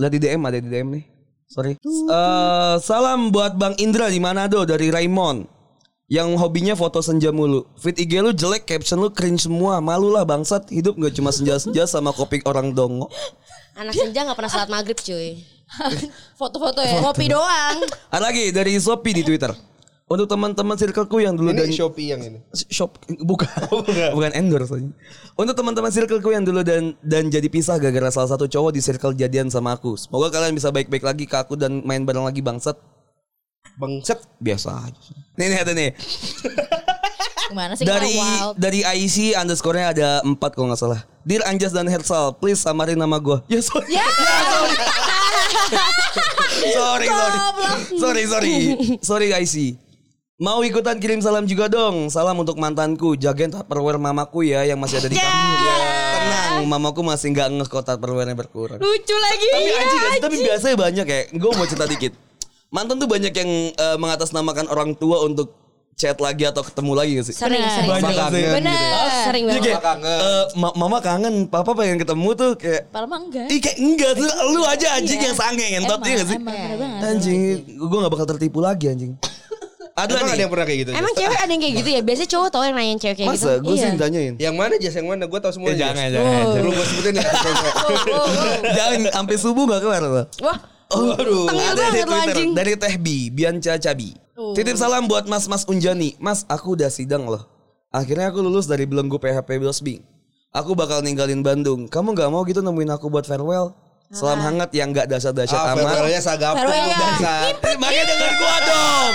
S2: Lihat di DM ada di DM nih Sorry Eh, Salam buat Bang Indra di Manado Dari Raymond yang hobinya foto senja mulu Fit IG lu jelek, caption lu cringe semua Malulah bangsat, hidup gak cuma senja-senja sama kopi orang dongo
S5: Anak senja gak pernah salat maghrib cuy.
S4: Foto-foto ya.
S5: Kopi doang.
S2: Ada lagi dari Shopee di Twitter. Untuk teman-teman circleku yang dulu dan
S3: Ini Shopee yang ini.
S2: shop bukan bukan, endorse aja. Untuk teman-teman circleku yang dulu dan dan jadi pisah gara-gara salah satu cowok di circle jadian sama aku. Semoga kalian bisa baik-baik lagi ke aku dan main bareng lagi bangsat.
S3: Bangset.
S2: Biasa aja. Nih nih ada nih.
S4: Gimana sih?
S2: Dari
S4: Kita wild.
S2: dari IC underscore-nya ada 4 kalau nggak salah. Dear Anjas dan Hersal, please samarin nama gua. Ya sorry.
S4: Ya.
S2: sorry, sorry. Sorry, sorry. Sorry guys. Mau ikutan kirim salam juga dong. Salam untuk mantanku, jagain tupperware mamaku ya yang masih ada di kampung. Tenang, mamaku masih nggak ngeh kok tupperware-nya berkurang.
S4: Lucu lagi.
S2: tapi iya, anjing, guys, tapi biasanya banyak ya. Gue mau cerita dikit. Mantan tuh banyak yang eh, mengatasnamakan orang tua untuk chat lagi atau ketemu lagi gak sih?
S5: Sering, sering,
S2: Banyak
S5: sering.
S2: sih.
S5: Oh,
S4: Bener.
S5: sering
S2: Iya,
S5: banget.
S2: kayak, eh, ma- mama kangen, papa pengen ketemu tuh kayak
S4: Padahal mah enggak.
S2: Ih kayak enggak tuh lu aja anjing yang sange ngentot
S4: Emang,
S2: iya gak sih?
S4: emang, bener banget.
S2: Anjing, gue gak bakal tertipu lagi anjing. Ada
S3: Emang ada
S2: nih.
S3: yang pernah kayak gitu? Jas?
S5: Emang cewek ada yang kayak gitu ya? Biasanya cowok tau yang nanyain cewek kayak gitu.
S2: Masa gue sih ditanyain.
S3: Yang mana Jas? Yang mana? Gue tau semua.
S2: Eh,
S3: Jas.
S2: jangan, jangan, jangan.
S3: Belum gue sebutin ya.
S2: Jangan sampai subuh gak kelar loh.
S5: Wah,
S2: Aduh,
S5: Tengil
S2: ada di
S5: banget lo,
S2: Twitter
S5: anjing.
S2: dari Teh Bi, Bianca Cabi. Titip salam buat Mas Mas Unjani. Mas, aku udah sidang loh. Akhirnya aku lulus dari belenggu PHP Bosbing. Aku bakal ninggalin Bandung. Kamu nggak mau gitu nemuin aku buat farewell?
S5: Ah.
S2: Salam hangat yang nggak dasar-dasar
S3: Ah,
S2: amat.
S3: farewellnya Sagapu.
S4: Farewell.
S5: ya.
S3: bangsat.
S2: Eh, Makanya denger gua dong.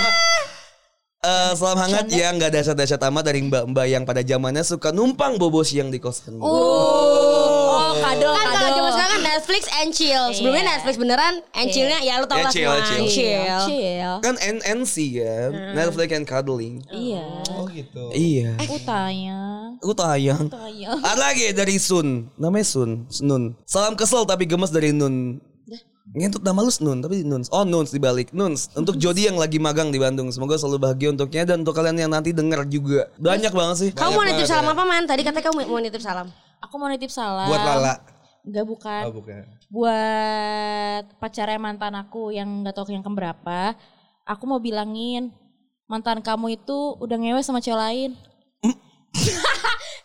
S2: Eh, salam hangat yang gak dasar-dasar tamat dari mbak-mbak yang pada zamannya suka numpang bobo siang di kosan.
S4: Oh, kadel,
S5: kan kalau zaman
S4: kadel.
S5: sekarang kan Netflix and chill. Sebelumnya Netflix beneran and chillnya ya lu
S2: Ya,
S5: tau lah
S2: chill,
S5: semua.
S2: chill.
S5: Iya, And
S4: Chill.
S5: Chill.
S4: Iya, Chill.
S2: Kan NNC kan, Netflix and cuddling.
S4: Iya.
S3: Oh gitu.
S2: Iya.
S4: Aku tayang.
S2: Aku tayang.
S4: Eh. Tayang.
S2: Ada lagi dari Sun, namanya Sun, Nun. Salam kesel tapi gemes dari Nun. Ngentut nama lu Nun, tapi Nuns. Oh Nuns dibalik Nuns. Untuk Jody yang lagi magang di Bandung, semoga selalu bahagia untuknya dan untuk kalian yang nanti denger juga. Banyak banget sih.
S5: Kamu mau nitip salam apa man? Tadi katanya kamu mau nitip salam.
S4: Aku mau nitip salam.
S3: Buat Lala.
S4: Enggak bukan.
S3: Oh, bukan.
S4: Buat pacarnya mantan aku yang gak tau yang keberapa. Aku mau bilangin mantan kamu itu udah ngewe sama cewek lain.
S2: Hmm?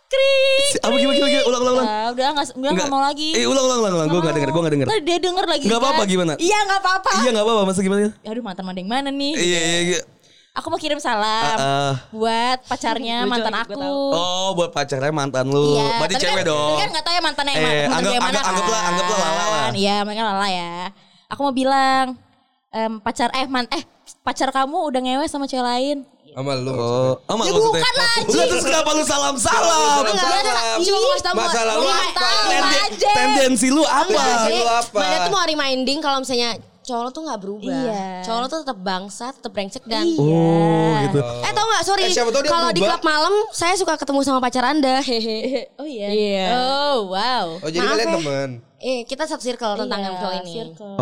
S4: Krik.
S2: Si- Apa gimana gimana, gimana? ulang ulang ulang.
S4: Ah, udah gak, udah
S2: Nggak.
S4: gak mau lagi.
S2: Eh ulang ulang ulang ulang. Gue
S4: Nggak
S2: gak denger, gue gak denger.
S4: Ntar dia denger lagi.
S2: Nggak apa-apa,
S4: kan?
S2: gimana?
S4: Iya gak apa-apa.
S2: Iya gak apa-apa, masa gimana?
S4: Aduh mantan mandeng mana nih?
S2: Iya iya iya.
S4: Aku mau kirim salam
S2: Ah,
S4: buat pacarnya
S5: Lucu,
S4: mantan
S5: gue
S4: aku.
S5: tahu.
S2: Oh buat pacarnya mantan lu. Berarti
S4: tapi
S2: cewek
S4: kan,
S2: dong.
S4: Tapi kan gak tau ya mantannya
S2: Eh,
S4: yang mantan
S2: anggap-
S4: yang mana
S2: anggap- anggaplah-
S4: kan.
S2: anggaplah Lala lah.
S4: Iya, mereka lala ya. Aku mau bilang em, pacar eh man eh pacar kamu udah ngewe sama cewek lain.
S3: Sama lu.
S2: Oh, oh
S4: Ya
S2: maksudnya.
S4: bukan lah,
S2: Udah, terus kenapa lu salam salam?
S3: Enggak, enggak,
S5: enggak. Cuma mau kasih tahu
S3: Masa
S5: buat-
S3: lalu
S5: buat
S3: apa?
S5: tahu
S4: Tenden-
S5: aja.
S4: aja.
S2: Tendensi lu apa?
S3: Tendensi
S5: Jadi,
S3: lu apa?
S5: Mana tuh mau reminding kalau misalnya cowok lo tuh nggak berubah.
S4: Iya.
S5: Cowok lo tuh tetap bangsa, tetap brengsek dan
S2: Oh gitu.
S5: Eh tau gak sorry
S3: Eh, siapa tahu dia
S5: Kalau di
S3: berubah.
S5: klub malam Saya suka ketemu sama pacar anda Hehehe
S4: Oh iya.
S5: Iya.
S4: Oh, wow.
S3: Oh jadi
S5: Maaf
S3: kalian
S5: ya.
S3: teman.
S5: Eh kita satu circle tentang yang cowok ini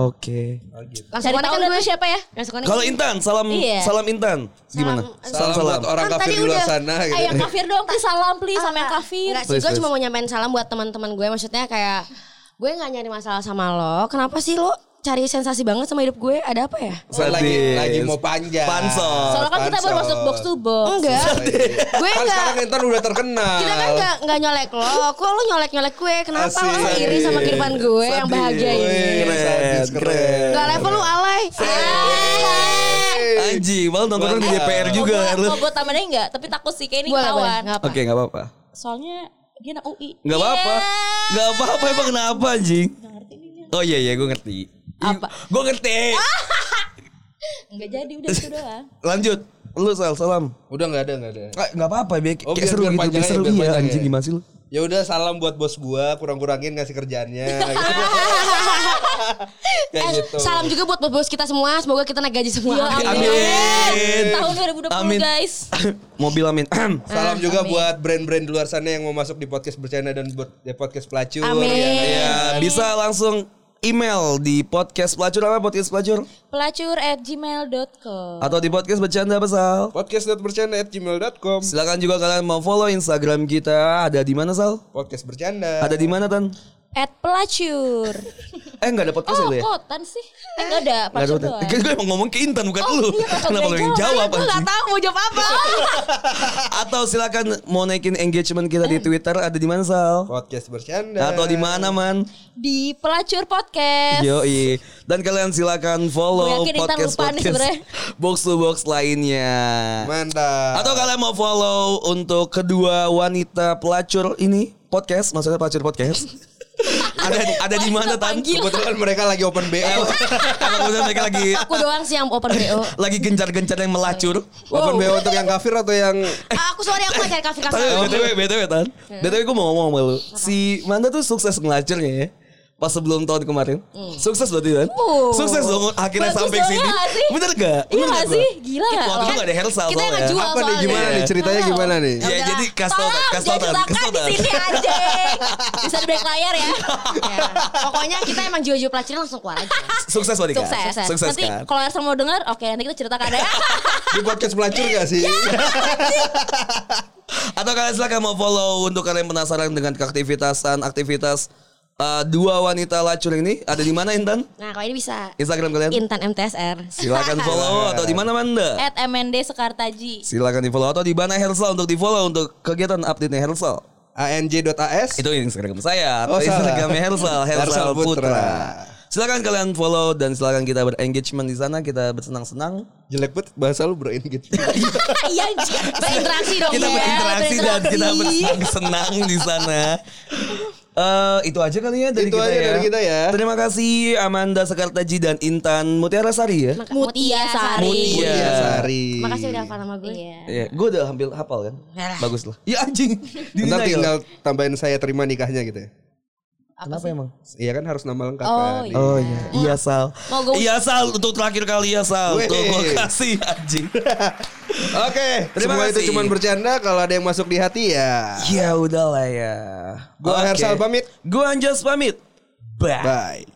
S2: Oke.
S3: Oh gitu.
S5: Langsung
S4: Cari
S5: konek
S4: tahu
S5: kan
S4: dah
S5: gue
S4: tuh siapa ya?
S5: Langsung konek
S2: Kalau Intan, salam
S4: Iya.
S2: salam Intan. Gimana?
S3: Salam, buat orang
S5: Kan
S3: kafir
S5: tadi
S3: di luar
S5: udah.
S3: sana
S4: Eh,
S3: gitu.
S4: yang kafir dong, please salam please sama yang kafir.
S5: Ah, Enggak sih
S2: Please,
S5: gue
S2: please.
S5: cuma mau nyampein salam buat teman-teman gue Maksudnya kayak Gue gak nyari masalah sama lo Kenapa sih lo cari sensasi banget sama hidup gue Ada apa ya?
S3: Oh, lagi
S2: Sadis.
S3: lagi mau panjang.
S2: Pansos.
S4: Soalnya kan kita baru
S3: Pansos.
S4: masuk box to box.
S5: Enggak Gue
S3: Kan
S5: gak
S3: sekarang Intan udah terkenal.
S5: Kita kan gak, gak nyolek lo Kok lo nyolek-nyolek gue Kenapa lo
S3: Asik.
S5: iri sama kehidupan gue Yang bahagia ini
S3: Wih, sadis, keren.
S5: Gak level lu alay
S3: Hey.
S2: Anji, malah nonton di DPR juga
S4: Mau
S2: lu.
S4: gua- mau gue tambahin enggak? Tapi takut sih kayak ini
S5: Boleh boleh
S4: ketahuan.
S5: Gak apa
S2: Oke, nggak apa-apa.
S4: Soalnya dia anak Iya. UI.
S2: Nggak apa-apa. Nggak apa-apa emang kenapa anjing? Oh iya iya gue ngerti.
S4: Apa?
S2: Gue ngerti.
S4: Enggak jadi udah itu doang.
S2: Lanjut. Lu sal salam.
S3: Udah nggak ada nggak ada.
S2: Nggak nggak apa-apa, biar
S3: Oh,
S2: kayak
S3: biar-
S2: seru gitu,
S3: biar
S2: biar
S3: panjang aja,
S2: seru
S3: biar
S2: iya
S3: panjang
S2: anjing
S3: ya.
S2: gimana sih lu?
S3: Ya udah salam buat bos gua, kurang-kurangin ngasih kerjanya. gitu. Kayak gitu.
S5: Eh, Salam juga buat bos-bos kita semua. Semoga kita naik gaji semua.
S4: Iya,
S5: Amin.
S2: Amin. Amin.
S4: Tahun 2020
S2: Amin.
S4: guys.
S2: Mobil amin.
S3: Salam juga buat brand-brand di luar sana yang mau masuk di podcast bercanda dan buat ya, podcast pelacur.
S5: Amin.
S3: Ya, ya.
S2: ya, bisa langsung email di podcast pelacur apa podcast pelacur
S4: Pelacur at gmail.com
S2: atau di podcast bercanda besar.
S3: Podcast.bercanda@gmail.com.
S2: Silakan juga kalian mau follow Instagram kita ada di mana Sal?
S3: Podcast bercanda.
S2: Ada di mana Tan?
S4: At pelacur
S2: Eh nggak ada podcast ya
S4: Oh
S2: lu ya?
S4: kotan sih
S2: Nggak
S4: Enggak ada
S2: ada
S4: pelacur
S2: podcast.
S4: doang
S2: Kan gue emang ngomong ke Intan bukan lu.
S4: iya, pas
S2: Kenapa lu
S4: gue
S2: yang
S4: jawab,
S2: jawab
S4: gue nggak
S2: anjing?
S5: Tahu mau jawab apa?
S2: Atau silakan mau naikin engagement kita
S4: Eh.
S2: di Twitter ada di mana Sal?
S3: Podcast bercanda.
S2: Atau di mana man?
S4: Di pelacur podcast
S2: Yoi. Dan kalian silakan follow
S4: Gue yakin Intan
S2: podcast
S4: lupa nih
S2: podcast
S4: sebenarnya.
S2: box to box lainnya.
S3: Mantap.
S2: Atau kalian mau follow untuk kedua wanita pelacur ini podcast, maksudnya pelacur podcast. ada ada di mana tan?
S3: Kebetulan mereka lagi open BL.
S2: Kalau kemudian mereka lagi
S5: Aku doang sih yang open BO.
S2: lagi gencar-gencar yang melacur.
S3: open BL untuk yang kafir atau yang
S5: Ah, aku sorry aku gak cari kafir
S2: Tapi
S5: kafir.
S2: btw btw tan,
S4: Iya.
S2: btw gue mau ngomong sama lu. Si Manda tuh sukses ngelacurnya ya. Pas sebelum tahun kemarin, sukses berarti kan?
S4: Uh.
S2: Sukses dong akhirnya
S4: Hmm. Bagus
S2: sampai
S4: dong,
S2: sini.
S4: iya nggak sih?
S2: Bener gak?
S4: Iya
S2: Bener
S4: nggak
S2: nggak?
S4: sih? Gila nggak?
S2: Waktu itu
S4: Kan
S2: nggak ada Hersal
S5: kita yang
S2: soalnya.
S5: ngejual.
S3: apa nih
S5: soalnya.
S2: Iya.
S3: gimana nih ceritanya
S4: Tahu.
S3: gimana nih?
S2: Ya,
S4: Udah.
S2: jadi kasih tau, Tan.
S4: Tolong,
S2: Kasih tau, Tan.
S4: jangan
S2: Kasih tau,
S4: diletakkan
S2: Tan.
S4: di sini aja Bisa di back layar ya
S5: Ya, Pokoknya kita emang jiwa-jiwa pelacurnya langsung keluar aja.
S2: Sukses berarti kan?
S4: Sukses
S2: Sukses
S4: Nanti
S2: kan?
S4: kalau Ersan mau denger Oke nanti kita ceritakan ya
S3: Di podcast pelacur gak sih?
S2: Atau kalian silakan mau follow untuk kalian penasaran dengan keaktivitasan aktivitas eh, dua wanita lacur ini ada di mana Intan?
S5: Nah kalau ini bisa
S2: Instagram kalian?
S5: Intan MTSR.
S2: Silakan follow atau di mana Manda?
S4: At MND Sekartaji
S2: Silakan di follow atau di mana Hersal untuk di follow untuk kegiatan update-nya Hersal.
S3: ANJ.AS.
S2: Itu Instagram saya atau
S3: Oh, salah.
S2: Instagramnya Hersal, Hersal
S3: Hersal
S2: Putra.
S3: Putra.
S2: Silakan kalian follow dan silakan kita berengagement di sana, kita bersenang-senang.
S3: Jelek banget bahasa lu bro ini gitu.
S4: Iya anjing.
S5: Berinteraksi dong.
S2: kita
S5: ya,
S2: berinteraksi dan kita
S5: berinteraksi.
S2: bersenang-senang di sana. Eh itu aja kali ya dari
S3: Itu
S2: kita
S3: aja
S2: ya.
S3: dari kita ya.
S2: Terima kasih Amanda Sekartaji dan Intan Mutiara Sari ya.
S4: Mutia Sari.
S2: Mutia.
S3: Iya Sari.
S5: Makasih udah hafal nama gue.
S4: Iya
S2: Iya, gue udah hampir hafal kan.
S5: Yalah.
S2: Bagus lah. Ya anjing.
S3: Ntar
S2: Dinilai
S3: tinggal
S2: loh.
S3: tambahin saya terima nikahnya gitu ya.
S2: Kenapa emang?
S3: Iya kan harus nama lengkap
S4: Oh,
S3: kan.
S4: iya.
S2: Oh iya, iya Sal.
S4: Mau gua-
S2: Iya Sal, untuk terakhir kali ya Sal.
S3: Weh.
S2: Tuh gue kasih anjing.
S3: Oke,
S2: Terima
S3: semua itu
S2: kasih.
S3: cuma bercanda kalau ada yang masuk di hati ya.
S2: ya udahlah ya.
S3: Gua
S2: Oke.
S3: Hersal pamit.
S2: Gua Anjas pamit. Bye.
S3: Bye.